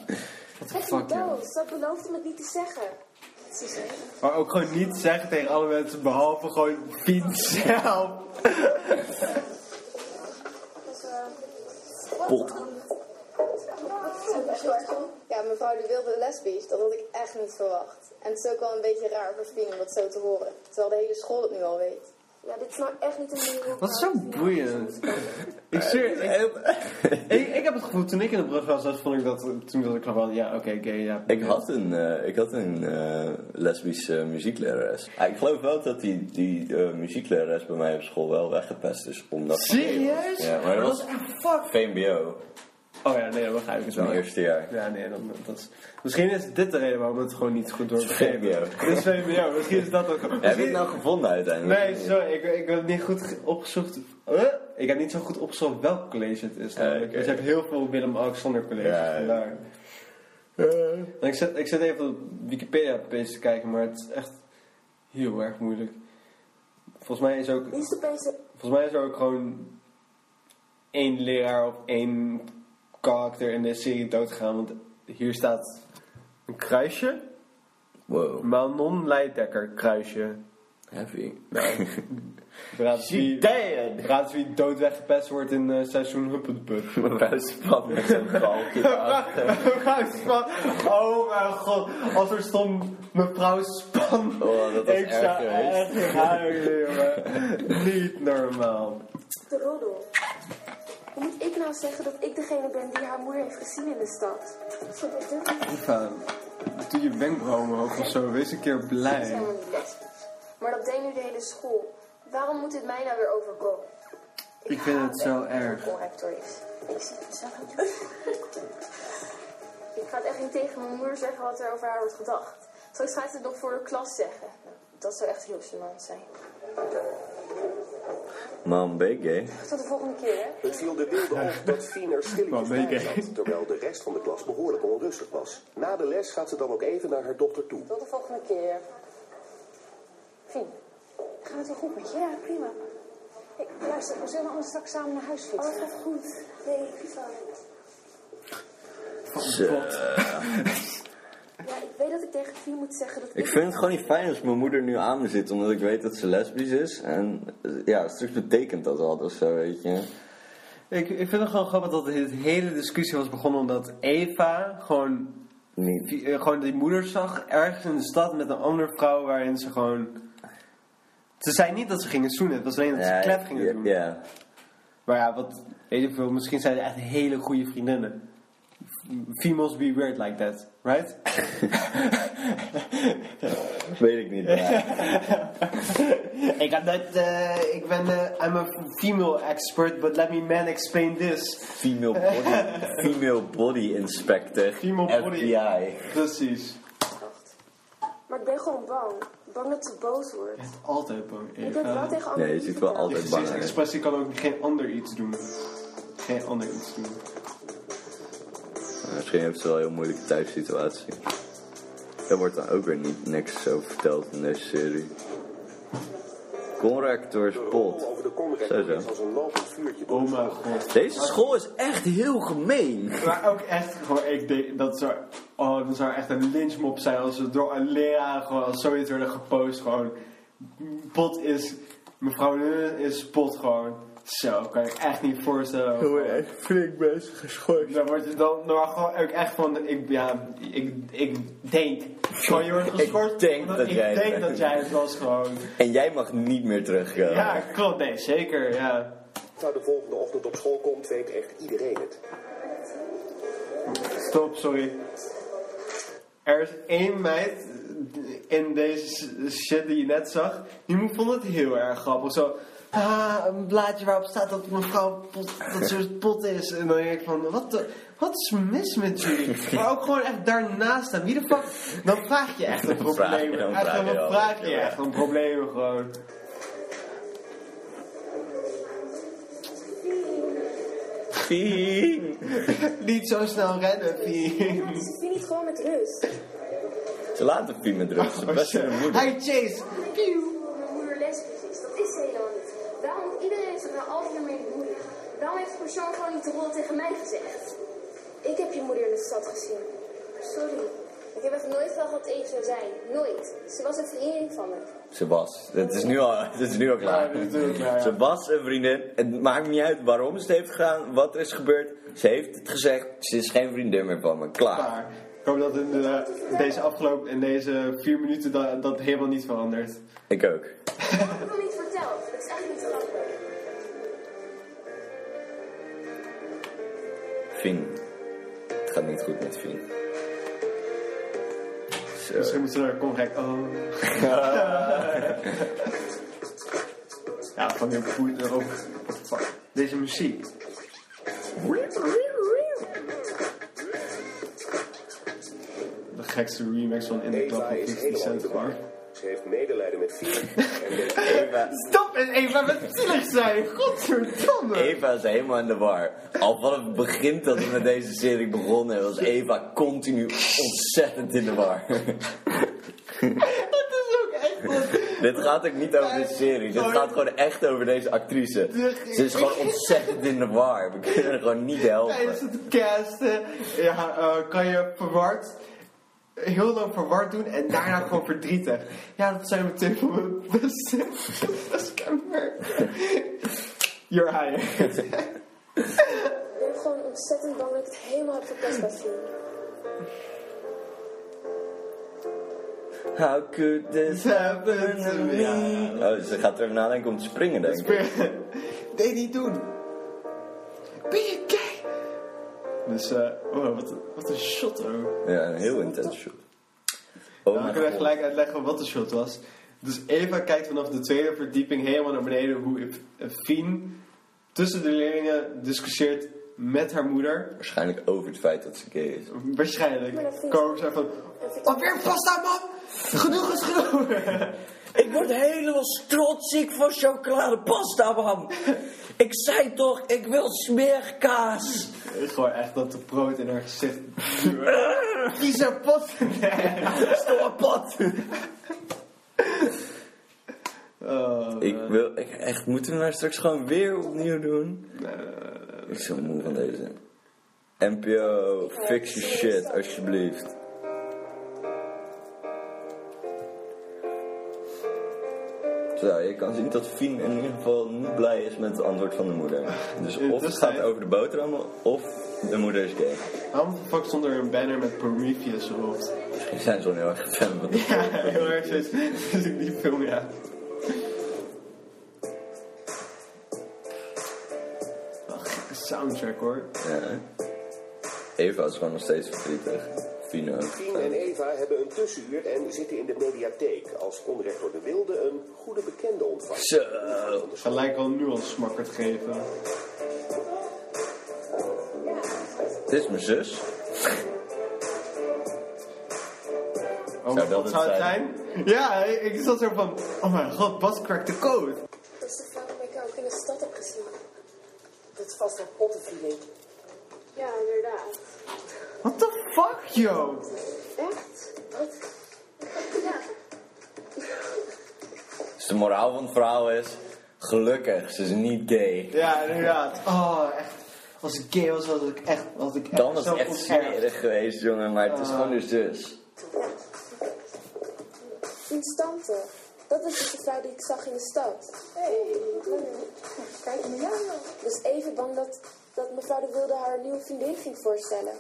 [SPEAKER 5] Echt
[SPEAKER 1] fuck, joh.
[SPEAKER 5] dood. Dat beloofde me niet te zeggen. Ze zei,
[SPEAKER 1] Maar ook gewoon niet zeggen tegen alle mensen, behalve gewoon Pien [LAUGHS] zelf.
[SPEAKER 5] dus, eh,
[SPEAKER 2] Pot.
[SPEAKER 12] Ja, mevrouw de Wilde lesbisch, dat had ik echt niet verwacht. En het is ook wel een beetje raar voor Fien om dat zo te horen. Terwijl de hele school het nu al weet.
[SPEAKER 5] ja, dit is nou echt niet een manier hoe
[SPEAKER 1] Wat is zo boeiend. Ik zweer, ik, ik, ik heb het gevoel, toen ik in de brug was, dat vond ik dat, toen dacht ik gewoon van, ja, oké, gay, ja.
[SPEAKER 2] Ik had een, eh, ik had een eh, lesbische muzieklerares. Ah, ik geloof wel dat die, die eh, muzieklerares bij mij op school wel weggepest is. Omdat
[SPEAKER 1] Serieus?
[SPEAKER 2] Ja, maar dat was
[SPEAKER 1] echt fuck.
[SPEAKER 2] VMBO.
[SPEAKER 1] Oh ja, nee, dan begrijp ik het
[SPEAKER 2] Mijn
[SPEAKER 1] wel.
[SPEAKER 2] eerste jaar.
[SPEAKER 1] Ja, nee, dan, dat is... Misschien is dit de reden waarom het gewoon niet goed doorgegeven
[SPEAKER 2] VMBO.
[SPEAKER 1] Dit is VMBO, misschien is dat ook...
[SPEAKER 2] Heb je het nou gevonden uiteindelijk?
[SPEAKER 1] Nee, sorry, ik, ik heb niet goed ge- opgezocht... Huh? Ik heb niet zo goed opgezocht welk college het is. namelijk.
[SPEAKER 2] oké.
[SPEAKER 1] Dus je hebt heel veel Willem-Alexander colleges
[SPEAKER 2] Ja, ja.
[SPEAKER 1] vandaar. En ik, zit, ik zit even op Wikipedia-page te kijken, maar het is echt heel erg moeilijk. Volgens mij is ook...
[SPEAKER 5] Wie is de beste?
[SPEAKER 1] Volgens Volgens mij is er ook gewoon één leraar of één karakter in de serie doodgegaan. Want hier staat een kruisje.
[SPEAKER 2] Wow.
[SPEAKER 1] Manon Leidekker kruisje.
[SPEAKER 2] Heavy. [LAUGHS]
[SPEAKER 1] Raad wie, raad wie dood weggepest wordt in eh, seizoen Huppetput.
[SPEAKER 2] [LAUGHS] Mevrouw Span met zo'n balkje erachter.
[SPEAKER 1] Mevrouw Span. Oh mijn god. Als er stond mevrouw Span.
[SPEAKER 2] Oh, dat was
[SPEAKER 1] ik
[SPEAKER 2] erg
[SPEAKER 1] zou
[SPEAKER 2] geweest.
[SPEAKER 1] echt huilen, jongen. Niet normaal.
[SPEAKER 4] De roddel. Hoe moet ik nou zeggen dat ik degene ben die haar moeder heeft gezien in de stad? Zo dat durf ik niet.
[SPEAKER 1] Eva, eh, doe je wenkbrauwen omhoog of zo. Wees een keer
[SPEAKER 5] Dat is
[SPEAKER 1] blij.
[SPEAKER 5] helemaal niet lesbisch. Maar dat deed nu de hele school. Waarom moet dit mij nou weer overkomen?
[SPEAKER 1] Ik vind het zo erg.
[SPEAKER 5] Corrector is. Ik zie het zo. [LAUGHS] Ik ga het echt niet tegen mijn moeder zeggen wat er over haar wordt gedacht. Straks gaat ze het nog voor de klas zeggen. Nou, Dat zou echt heel gênant zijn.
[SPEAKER 2] Man, ben je gay?
[SPEAKER 5] Tot de volgende keer, hè?
[SPEAKER 3] Het viel de wilde op
[SPEAKER 2] [LAUGHS]
[SPEAKER 3] dat Fien er stilletjes
[SPEAKER 1] Wat
[SPEAKER 3] bij
[SPEAKER 1] ben ik, hè?
[SPEAKER 3] zat, terwijl de rest van de klas behoorlijk onrustig was. Na de les gaat ze dan ook even naar haar dochter toe.
[SPEAKER 7] Tot de volgende keer.
[SPEAKER 5] Fien, gaat het wel goed met je? Ja, prima.
[SPEAKER 7] Hey, luister, we zullen allemaal straks samen naar huis
[SPEAKER 4] Oh,
[SPEAKER 7] fietsen.
[SPEAKER 4] het gaat goed. Nee, ik vind wel.
[SPEAKER 2] Zo.
[SPEAKER 4] Ja, ik weet dat ik tegen Fien moet zeggen dat
[SPEAKER 2] Ik vind het gewoon niet fijn als mijn moeder nu aan me zit, omdat ik weet dat ze lesbisch is. En eh, ja, straks betekent dat al of zo, weet je.
[SPEAKER 1] Ik, ik vind het gewoon grappig dat de hele discussie was begonnen omdat Eva gewoon,
[SPEAKER 2] Niet.
[SPEAKER 1] die, eh, gewoon die moeder zag ergens in de stad met een andere vrouw waarin ze gewoon... Ze zei niet dat ze gingen zoenen, het was alleen dat ze
[SPEAKER 2] Ja,
[SPEAKER 1] klep gingen
[SPEAKER 2] ja,
[SPEAKER 1] doen.
[SPEAKER 2] Ja.
[SPEAKER 1] Maar ja, wat weet ik veel, misschien zijn het echt hele goede vriendinnen. Females be weird like that, right? [LAUGHS]
[SPEAKER 2] Weet ik niet.
[SPEAKER 1] [LAUGHS]
[SPEAKER 2] maar-
[SPEAKER 1] ik had net, eh, ik ben, eh, I'm a female expert, but let me man explain this.
[SPEAKER 2] Female body, female body inspector.
[SPEAKER 1] Female body.
[SPEAKER 2] FBI.
[SPEAKER 1] Precies.
[SPEAKER 4] Maar ik ben gewoon bang. Bang dat ze boos wordt.
[SPEAKER 1] Het altijd bang, Eva.
[SPEAKER 4] Ik heb het wel tegen anderen
[SPEAKER 2] Nee, je ziet wel
[SPEAKER 1] Je
[SPEAKER 2] altijd bang. uit.
[SPEAKER 1] gezichtsexpressie kan ook geen ander iets doen. Geen ander iets doen.
[SPEAKER 2] Misschien heeft ze wel een heel moeilijke thuissituatie. Er wordt dan ook weer niet niks over verteld in deze serie. Conrectors
[SPEAKER 3] De
[SPEAKER 2] pot.
[SPEAKER 3] roddel over de
[SPEAKER 2] Zo, zo.
[SPEAKER 3] conrector is als een lopend vuurtje
[SPEAKER 1] Oh mijn god.
[SPEAKER 2] Deze school is echt heel gemeen.
[SPEAKER 1] Maar ook echt, gewoon, ik denk, dat zou, oh, dat zou echt een lynchmop zijn als we door een leraar gewoon als zoiets werden gepost. Gewoon, pot is, mevrouw Leunen is pot gewoon. Zo, kan ik echt niet voorstellen.
[SPEAKER 2] echt flink bezig geschorst.
[SPEAKER 1] Dan word je dan, dan gewoon ook echt van, ik, ja, ik, ik denk. Gewoon, je wordt
[SPEAKER 2] Ik
[SPEAKER 1] geschorst.
[SPEAKER 2] denk
[SPEAKER 1] omdat
[SPEAKER 2] dat
[SPEAKER 1] ik
[SPEAKER 2] jij het
[SPEAKER 1] denk
[SPEAKER 2] bent.
[SPEAKER 1] dat jij het was gewoon.
[SPEAKER 2] En jij mag niet meer terugkomen.
[SPEAKER 1] Ja, klopt, nee, zeker, ja.
[SPEAKER 3] Nou, de volgende ochtend op school komt, weet echt iedereen het.
[SPEAKER 1] Stop, sorry. Er is één meid in deze shit die je net zag. Die mo- vond het heel erg grappig. Zo, ah, een blaadje waarop staat dat mevrouw pot, dat ze pot is. En dan denk ik van, wat, de, wat is mis met jullie? Maar ook gewoon echt daarnaast staan. Wie de fuck? Dan vraag je echt een
[SPEAKER 2] Dan vraag je-
[SPEAKER 1] probleem.
[SPEAKER 2] dan
[SPEAKER 1] Echt,
[SPEAKER 2] vraag je
[SPEAKER 1] dan
[SPEAKER 2] wel.
[SPEAKER 1] vraag je echt een probleem gewoon. [LAUGHS]
[SPEAKER 2] Fien.
[SPEAKER 1] Niet zo snel rennen, Pien.
[SPEAKER 4] Laat ze Fien niet gewoon met rust.
[SPEAKER 2] Ze laten Fien met rust.
[SPEAKER 1] Oh,
[SPEAKER 2] Ze best hun moeder.
[SPEAKER 1] Hey Chase,
[SPEAKER 5] Hoe Mijn moeder lesbisch is, dat is ze helemaal niet. Waarom moet iedereen zich nou altijd ermee bemoeien? Waarom heeft de persoon gewoon niet de rol tegen mij gezegd?
[SPEAKER 4] Ik heb je moeder in de stad gezien. Sorry.
[SPEAKER 5] Ik heb echt nooit gedacht dat ik zou zijn. Nooit. Ze was een vriendin van me.
[SPEAKER 2] Ze was. Het is nu al, [LAUGHS] het is nu al
[SPEAKER 1] Ja,
[SPEAKER 2] klaar.
[SPEAKER 1] dit is nu al klaar, ja.
[SPEAKER 2] Ze was een vriendin. Het maakt niet uit waarom ze het heeft gedaan, wat er is gebeurd. Ze heeft het gezegd. Ze is geen vriendin meer van me. Klaar.
[SPEAKER 1] Maar ik hoop dat in de- deze afgelopen, in deze vier minuten, dat, dat helemaal niet verandert.
[SPEAKER 2] Ik ook.
[SPEAKER 5] Ik heb hem niet verteld. Dat is echt niet grappig.
[SPEAKER 2] Fien. Het gaat niet goed met Fien. Zo.
[SPEAKER 1] Misschien moeten ze naar Conrijk. Oh. [LAUGHS] ja, van die voet erop. Deze muziek. De gekste remix van In the Club
[SPEAKER 3] Eva
[SPEAKER 1] van
[SPEAKER 3] is
[SPEAKER 1] 50
[SPEAKER 3] helemaal in de
[SPEAKER 1] Cent.
[SPEAKER 3] war.
[SPEAKER 1] man.
[SPEAKER 3] Ze heeft medelijden met
[SPEAKER 2] [LAUGHS]
[SPEAKER 3] Fien en denkt
[SPEAKER 2] Eva,
[SPEAKER 1] Stop en Eva met zielig zijn. Godverdomme.
[SPEAKER 2] Eva is helemaal in de war. Al vanaf het begin dat we met deze serie begonnen was Eva continu ontzettend in de war.
[SPEAKER 1] [LAUGHS] Dat is ook echt wat.
[SPEAKER 2] [LAUGHS] Dit gaat ook niet over de serie. Dit gaat gewoon echt over deze actrice. Ze is gewoon ontzettend in de war. We kunnen er gewoon niet helpen.
[SPEAKER 13] Tijdens het casten ja, eh, kan je verward, heel lang verward doen en daarna gewoon verdrietig. Ja, dat zijn meteen van mijn [LAUGHS] beste kerstkamer. You're hired.
[SPEAKER 4] Ik ben gewoon ontzettend bang dat ik het helemaal heb verpest bij Fien.
[SPEAKER 2] How could this happen to me? Oh, ze gaat erover nadenken om te springen, denk ik.
[SPEAKER 13] Nee, niet doen. Ben je gay? Dus, eh, wow, wat, een- wat een shot ook.
[SPEAKER 2] Ja, een heel intens shot. Oh
[SPEAKER 13] Nou,
[SPEAKER 2] mijn
[SPEAKER 13] ik wil
[SPEAKER 2] god.
[SPEAKER 13] gelijk uitleggen wat de shot was. Dus Eva kijkt vanaf de tweede verdieping helemaal naar beneden hoe Fien tussen de leerlingen discussieert met haar moeder.
[SPEAKER 2] Waarschijnlijk over het feit dat ze gay is.
[SPEAKER 13] Waarschijnlijk komen zij van... Alweer pasta, man! Genoeg is genoeg!
[SPEAKER 14] Ik word helemaal strotziek van chocoladepasta, man. Ik zei toch, ik wil smeerkaas.
[SPEAKER 13] Gewoon echt dat de brood in haar gezicht... Kies een pot! [LAUGHS]
[SPEAKER 2] Stomme pot!
[SPEAKER 13] Oh,
[SPEAKER 2] Ik wil ik, echt, moeten we maar straks gewoon weer opnieuw doen? Ik ben zo moe van deze. NPO, fix je shit alsjeblieft. Zo, je kan zien dat Fien in ieder geval niet blij is met het antwoord van de moeder. Dus of het gaat over de boterhammen, of de moeder is gay.
[SPEAKER 13] Waarom de fuck stond er een banner met Prometheus erop?
[SPEAKER 2] Misschien zijn ze wel heel erg fan van de
[SPEAKER 13] Ja, heel erg steeds. Dus ik die film, ja. Wel een gekke soundtrack hoor.
[SPEAKER 2] Ja. Eva is gewoon nog steeds verdrietig. Fien ook.
[SPEAKER 3] Fien en Eva hebben een tussenuur en zitten in de mediatheek als conrector de Wilde een goede bekende ontvangt.
[SPEAKER 2] Zo.
[SPEAKER 13] Gelijk al nu al smakkerd geven.
[SPEAKER 2] Dit is mijn zus.
[SPEAKER 13] Oh,
[SPEAKER 2] Zou dat
[SPEAKER 13] wat
[SPEAKER 2] het
[SPEAKER 13] zou het zijn?
[SPEAKER 2] zijn?
[SPEAKER 13] Ja, ik ik zat zo van, oh mijn god, Bas cracked de code.
[SPEAKER 4] Dat is de vrouw die ik ook in de stad heb gezien.
[SPEAKER 9] Dit is vast een pottenfilet.
[SPEAKER 4] Ja, inderdaad.
[SPEAKER 13] What the fuck, yo?
[SPEAKER 4] Echt? Wat? Ja.
[SPEAKER 2] Dus de moraal van het verhaal is... Gelukkig, ze is niet gay.
[SPEAKER 13] Ja, inderdaad. Oh, echt. Als ik gay was, was ik echt... Was ik
[SPEAKER 2] Dan was
[SPEAKER 13] zo
[SPEAKER 2] het echt
[SPEAKER 13] [LAUGHS] onterfd.
[SPEAKER 2] smerig geweest, jongen. Maar het is
[SPEAKER 13] Ah.
[SPEAKER 2] gewoon dus zus.
[SPEAKER 4] Fien's tante. Dat is dus de vrouw die ik zag in de stad. hey, kijk nu Dus even bang dat, dat mevrouw de Wilde haar nieuwe vriendin ging voorstellen.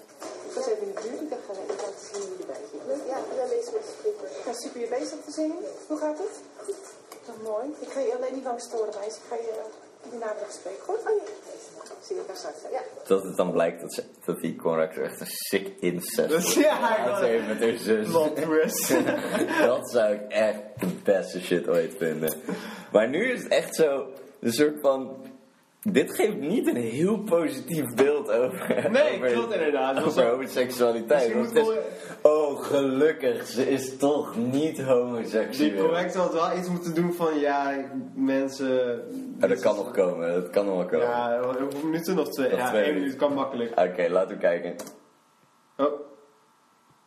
[SPEAKER 9] Dus even in de buurt, ik dacht gewoon even laten zien hoe je erbij zit.
[SPEAKER 4] Ja, ik ben bezig met de groepen.
[SPEAKER 9] Ja, super je bezig te zingen. Hoe gaat het? Goed. Dat is mooi. Ik ga je alleen niet lang storen, meisje. Ik ga je eh, die namiddag spreken. Goed? Oh, ja. Zie je elkaar straks. Ja.
[SPEAKER 2] Dat het dan blijkt dat, ze, dat die Conrad echt een sick incest
[SPEAKER 13] Dus ja,
[SPEAKER 2] had
[SPEAKER 13] ik wou-
[SPEAKER 2] heeft met haar zus.
[SPEAKER 13] Plot twist.
[SPEAKER 2] [LAUGHS] dat zou ik echt de beste shit ooit vinden. Maar nu is het echt zo... Een soort van... Dit geeft niet een heel positief beeld over...
[SPEAKER 13] Nee,
[SPEAKER 2] over,
[SPEAKER 13] klopt inderdaad. Dat is
[SPEAKER 2] Over
[SPEAKER 13] wel- Dus
[SPEAKER 2] homoseksualiteit.
[SPEAKER 13] je
[SPEAKER 2] Want
[SPEAKER 13] moet
[SPEAKER 2] het is- oh, gelukkig. Ze is toch niet homoseksueel.
[SPEAKER 13] Die project had wel iets moeten doen van, ja, mensen...
[SPEAKER 2] Ja, Oh, dat kan nog komen, dat kan nog wel komen.
[SPEAKER 13] Ja, hoeveel minuten nog twee?
[SPEAKER 2] Nog
[SPEAKER 13] Ja,
[SPEAKER 2] twee
[SPEAKER 13] één minuut
[SPEAKER 2] minuten.
[SPEAKER 13] kan makkelijk.
[SPEAKER 2] Oké, laten we kijken.
[SPEAKER 13] Oh.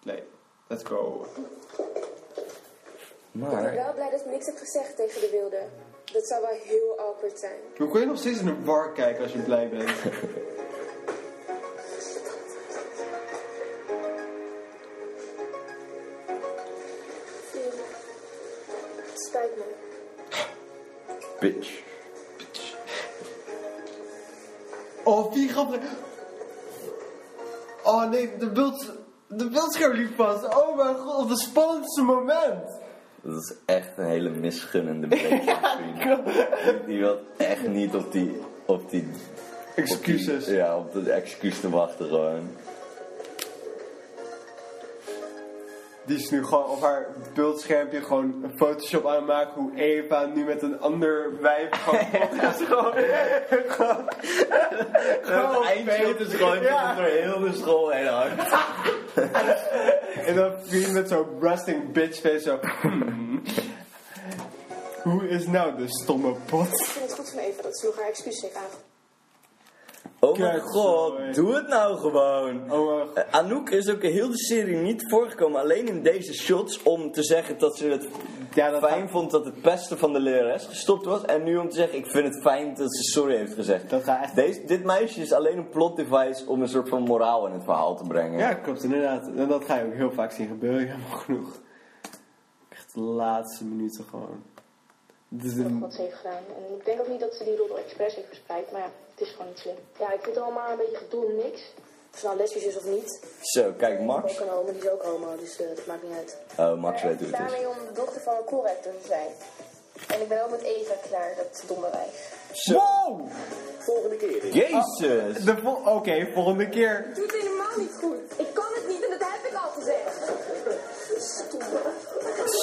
[SPEAKER 13] Nee, let's go.
[SPEAKER 4] Ik ben
[SPEAKER 13] Maar...
[SPEAKER 4] wel blij dat ik niks heb gezegd tegen de Wilde. Dat zou wel heel awkward zijn.
[SPEAKER 13] Hoe kun je nog steeds in een bar kijken als je
[SPEAKER 2] [LAUGHS]
[SPEAKER 13] blij bent?
[SPEAKER 4] Fien, Het spijt me.
[SPEAKER 2] Bitch.
[SPEAKER 13] Oh, vier grappig. Oh nee, de, beeld, de beeldscherm liep vast. Oh mijn god, op het spannendste moment.
[SPEAKER 2] Dat is echt een hele
[SPEAKER 13] [LAUGHS]
[SPEAKER 2] misgunnende blik. Die- die wil echt niet op die... Op die Excuses. ja, op dat excuus te wachten gewoon.
[SPEAKER 13] Die is nu gewoon op haar beeldschermpje gewoon een Photoshop aan het maken hoe Eva nu met een ander wijf
[SPEAKER 2] [LAUGHS]
[SPEAKER 13] gewoon [LAUGHS] podcast gewoon. gewoon-
[SPEAKER 2] Het eindshot is gewoon
[SPEAKER 13] Ja.
[SPEAKER 2] door heel de school heen hangt.
[SPEAKER 13] En dan vriend met zo'n rusting bitch face zo. hmm. Hoe is nou de stomme pot?
[SPEAKER 9] Ik vind het goed van Eva dat ze nog haar excuus heeft aange...
[SPEAKER 2] Oh mijn god, doe het nou gewoon.
[SPEAKER 13] Oh,
[SPEAKER 2] Eh, Anouk is ook een hele serie niet voorgekomen. Alleen in deze shots om te zeggen dat ze het fijn vond dat het pesten van de lerares gestopt was. En nu om te zeggen, ik vind het fijn dat ze sorry heeft gezegd. Deze, dit meisje is alleen een plot device om een soort van moraal in het verhaal te brengen.
[SPEAKER 13] Ja, klopt inderdaad. En dat ga je ook heel vaak zien gebeuren, [LAUGHS] helemaal genoeg. Echt de laatste minuten gewoon. Dus Dit is een-
[SPEAKER 6] wat ze heeft gedaan. En ik denk ook niet dat ze die roddel expres heeft verspreid, maar ja, het is gewoon niet slim. Ja, ik vind het allemaal een beetje gedoe om niks. Of ze nou lesbisch is of niet.
[SPEAKER 2] Zo, kijk Max.
[SPEAKER 6] Ik ben ook een homo, die is ook homo, dus eh, dat maakt niet uit.
[SPEAKER 2] Oh, Max weet hoe het is.
[SPEAKER 15] daarmee om de dochter van een corrector te zijn. En ik ben ook met Eva klaar, dat domme wijf.
[SPEAKER 13] Wow! Ah,
[SPEAKER 3] Volgende keer. in-
[SPEAKER 2] Jezus!
[SPEAKER 13] De vol- Oké, volgende keer.
[SPEAKER 5] doe het helemaal niet goed. Ik kan het niet en dat heb ik al gezegd. Stomme.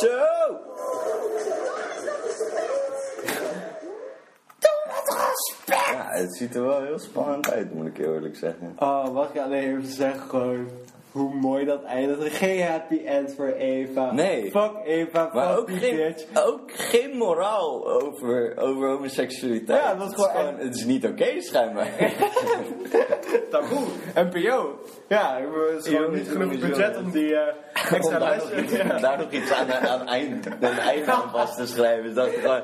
[SPEAKER 2] Zo! Ja, het ziet er wel heel spannend uit, moet ik heel eerlijk zeggen.
[SPEAKER 13] Oh, mag ik alleen even zeggen gewoon hoe mooi dat eindigt. Geen happy end voor Eva.
[SPEAKER 2] Nee.
[SPEAKER 13] Fuck Eva, fuck
[SPEAKER 2] Maar ook
[SPEAKER 13] die
[SPEAKER 2] geen,
[SPEAKER 13] bitch.
[SPEAKER 2] ook geen moraal over, over homoseksualiteit.
[SPEAKER 13] Ja, dat is
[SPEAKER 2] Het is
[SPEAKER 13] gewoon-
[SPEAKER 2] het is niet oké, [LAUGHS] schijnbaar.
[SPEAKER 13] Taboe.
[SPEAKER 2] oh,
[SPEAKER 13] NPO. Ja, er is gewoon niet genoeg budget om die eh,
[SPEAKER 2] Om
[SPEAKER 13] extra
[SPEAKER 2] daar nog, iets,
[SPEAKER 13] lessen...
[SPEAKER 2] om daar nog iets aan, aan, eind, aan eind aan vast te schrijven. Dus dat ik gewoon,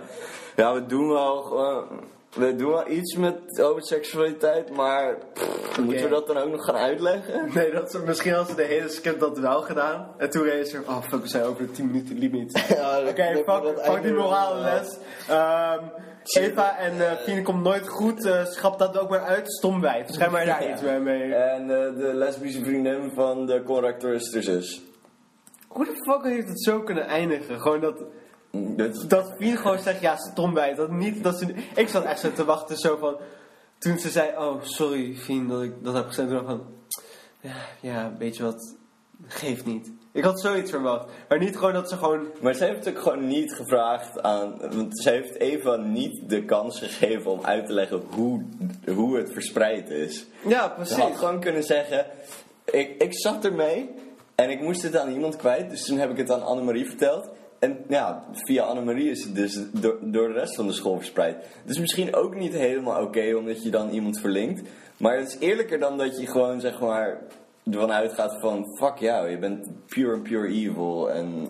[SPEAKER 2] ja, we doen wel gewoon- We doen wel iets met homoseksualiteit, maar pff, moeten we dat dan ook nog gaan uitleggen?
[SPEAKER 13] [LAUGHS] Nee, dat is, misschien hadden ze de hele script dat wel gedaan. En toen reden ze, oh fuck, we zijn over de 10 minuten limiet.
[SPEAKER 2] [LAUGHS] Ja,
[SPEAKER 13] Oké, fuck, fuck die morale les. Ehm, Eva en eh, Fien komt nooit goed, eh, schrap dat ook maar uit. Stom wijf, schrijf maar daar
[SPEAKER 2] Ja.
[SPEAKER 13] iets mee.
[SPEAKER 2] En eh, de lesbische vriendin van de corrector is de zus.
[SPEAKER 13] Hoe de fuck heeft het zo kunnen eindigen? Gewoon dat...
[SPEAKER 2] Dat,
[SPEAKER 13] dat Fien gewoon zegt, ja, stom bij. Dat niet, dat ze, ik zat echt zo te wachten, zo van... Toen ze zei, oh, sorry Fien, dat ik dat heb gezegd. Toen dacht ik van, ja, ja, weet je wat, geeft niet. Ik had zoiets verwacht. Maar niet gewoon dat ze gewoon...
[SPEAKER 2] Maar ze heeft ook gewoon niet gevraagd aan. Want ze heeft Eva niet de kans gegeven om uit te leggen hoe, hoe het verspreid is.
[SPEAKER 13] Ja, precies.
[SPEAKER 2] Ze had gewoon kunnen zeggen: ik, ik zat ermee en ik moest het aan iemand kwijt. Dus toen heb ik het aan Annemarie verteld. En ja, via Annemarie is het dus door, door de rest van de school verspreid. Dus misschien ook niet helemaal oké omdat je dan iemand verlinkt. Maar het is eerlijker dan dat je gewoon zeg maar ervan uitgaat van fuck jou, je bent pure and pure evil en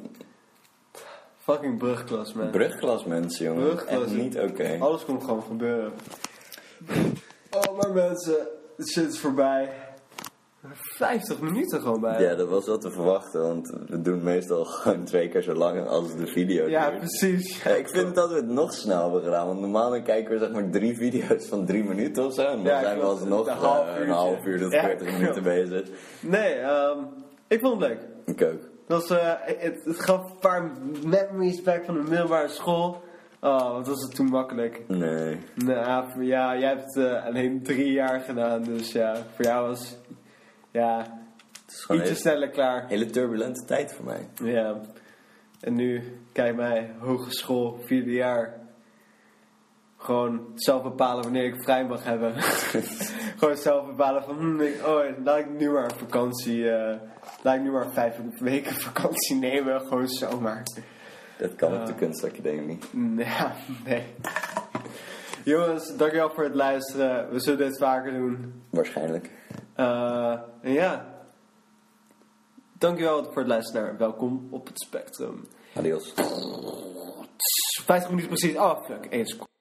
[SPEAKER 13] Fucking brugklas, man.
[SPEAKER 2] Brugklas mensen, jongen.
[SPEAKER 13] Brugklas,
[SPEAKER 2] Echt
[SPEAKER 13] joh.
[SPEAKER 2] niet oké.
[SPEAKER 13] Alles kon gewoon gebeuren. Oh, maar mensen, het shit is voorbij. 50 minuten gewoon bij.
[SPEAKER 2] Ja, dat was wel te verwachten, want we doen meestal [LAUGHS] gewoon twee keer zo lang als de video
[SPEAKER 13] Ja,
[SPEAKER 2] duurt.
[SPEAKER 13] precies.
[SPEAKER 2] Eh, Ik vind dat we het nog snel hebben gedaan, want normaal dan kijken we zeg maar drie video's van drie minuten of zo. En dan
[SPEAKER 13] Ja,
[SPEAKER 2] zijn we
[SPEAKER 13] klopt.
[SPEAKER 2] alsnog
[SPEAKER 13] Een
[SPEAKER 2] eh,
[SPEAKER 13] half
[SPEAKER 2] een
[SPEAKER 13] uurtje.
[SPEAKER 2] half uur tot
[SPEAKER 13] Ja,
[SPEAKER 2] 40 minuten bezig.
[SPEAKER 13] Nee, ehm, ik vond het leuk.
[SPEAKER 2] Ik ook.
[SPEAKER 13] Dat was, eh, het, het gaf een paar memories back van de middelbare school. Oh, wat was het toen makkelijk.
[SPEAKER 2] Nee.
[SPEAKER 13] Nou, voor jou, jij hebt eh, alleen drie jaar gedaan, dus ja, voor jou was ja,
[SPEAKER 2] gewoon
[SPEAKER 13] ietsje
[SPEAKER 2] heel-
[SPEAKER 13] sneller klaar.
[SPEAKER 2] Hele turbulente tijd voor mij.
[SPEAKER 13] Ja, en nu, kijk mij, hogeschool, vierde jaar. Gewoon zelf bepalen wanneer ik vrij mag hebben. Gewoon zelf bepalen van, hmm, ik- oh, laat ik nu maar vakantie, eh, laat ik nu maar vijf weken vakantie nemen, gewoon zomaar.
[SPEAKER 2] Dat kan op
[SPEAKER 13] Ja.
[SPEAKER 2] de kunstacademie.
[SPEAKER 13] Nee, ja, nee. Jongens, dankjewel voor het luisteren. We zullen dit vaker doen.
[SPEAKER 2] Waarschijnlijk.
[SPEAKER 13] Eh, en ja, dankjewel voor het luisteren. Welkom op het spectrum.
[SPEAKER 2] Adios.
[SPEAKER 13] 50 minuten precies. Oh, fuck. Eén seconde.